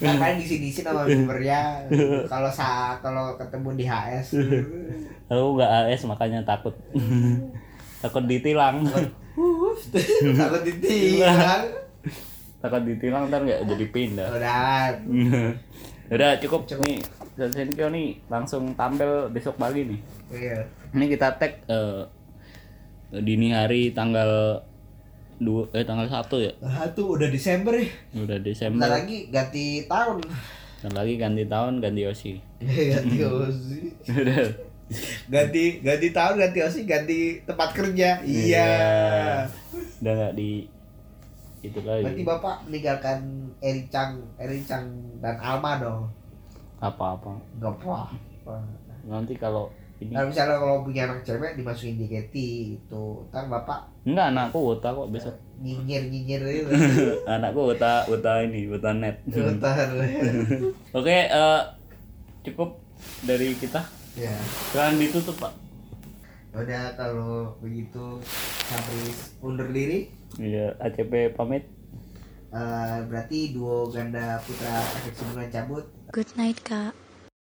Speaker 3: Ngapain di sini sih sama Bieber ya? Kalau saat kalau ketemu di HS
Speaker 2: Aku nggak AS makanya takut. takut ditilang.
Speaker 3: takut ditilang.
Speaker 2: takut ditilang ntar nggak jadi pindah.
Speaker 3: Udah,
Speaker 2: Udah cukup, nih. Dan Senkyo nih langsung tampil besok pagi nih.
Speaker 3: iya.
Speaker 2: Ini kita tag eh, dini hari tanggal dua eh tanggal 1 ya.
Speaker 3: Nah,
Speaker 6: ah tuh udah Desember ya
Speaker 2: Udah Desember.
Speaker 3: Bentar lagi ganti tahun.
Speaker 2: Dan lagi ganti tahun ganti Yosi.
Speaker 3: Iya,
Speaker 6: ganti
Speaker 3: Hmm.
Speaker 6: Osi
Speaker 2: Udah.
Speaker 6: ganti ganti tahun ganti Osi ganti tempat kerja iya
Speaker 2: Udah nggak di itu
Speaker 3: Berarti
Speaker 2: lagi
Speaker 3: Bapak meninggalkan Eri Chang, Eri Chang dan Alma dong.
Speaker 2: apa-apa.
Speaker 3: Enggak apa.
Speaker 2: Nanti kalau ini
Speaker 3: Kalau misalnya kalau punya anak cewek dimasukin di KT itu, ntar Bapak
Speaker 2: enggak anakku wota kok
Speaker 3: Iya.
Speaker 2: besok.
Speaker 3: nyinyir-nyinyir itu.
Speaker 2: anakku wota wota ini wota net.
Speaker 3: Bentar. Iya.
Speaker 2: Oke, eh, cukup dari kita.
Speaker 3: ya.
Speaker 2: Jangan ditutup, Pak.
Speaker 3: Udah kalau begitu sampai undur diri.
Speaker 2: Iya, ACP pamit.
Speaker 3: Eh, berarti duo ganda putra efek hubungan cabut
Speaker 1: Good night, Kak.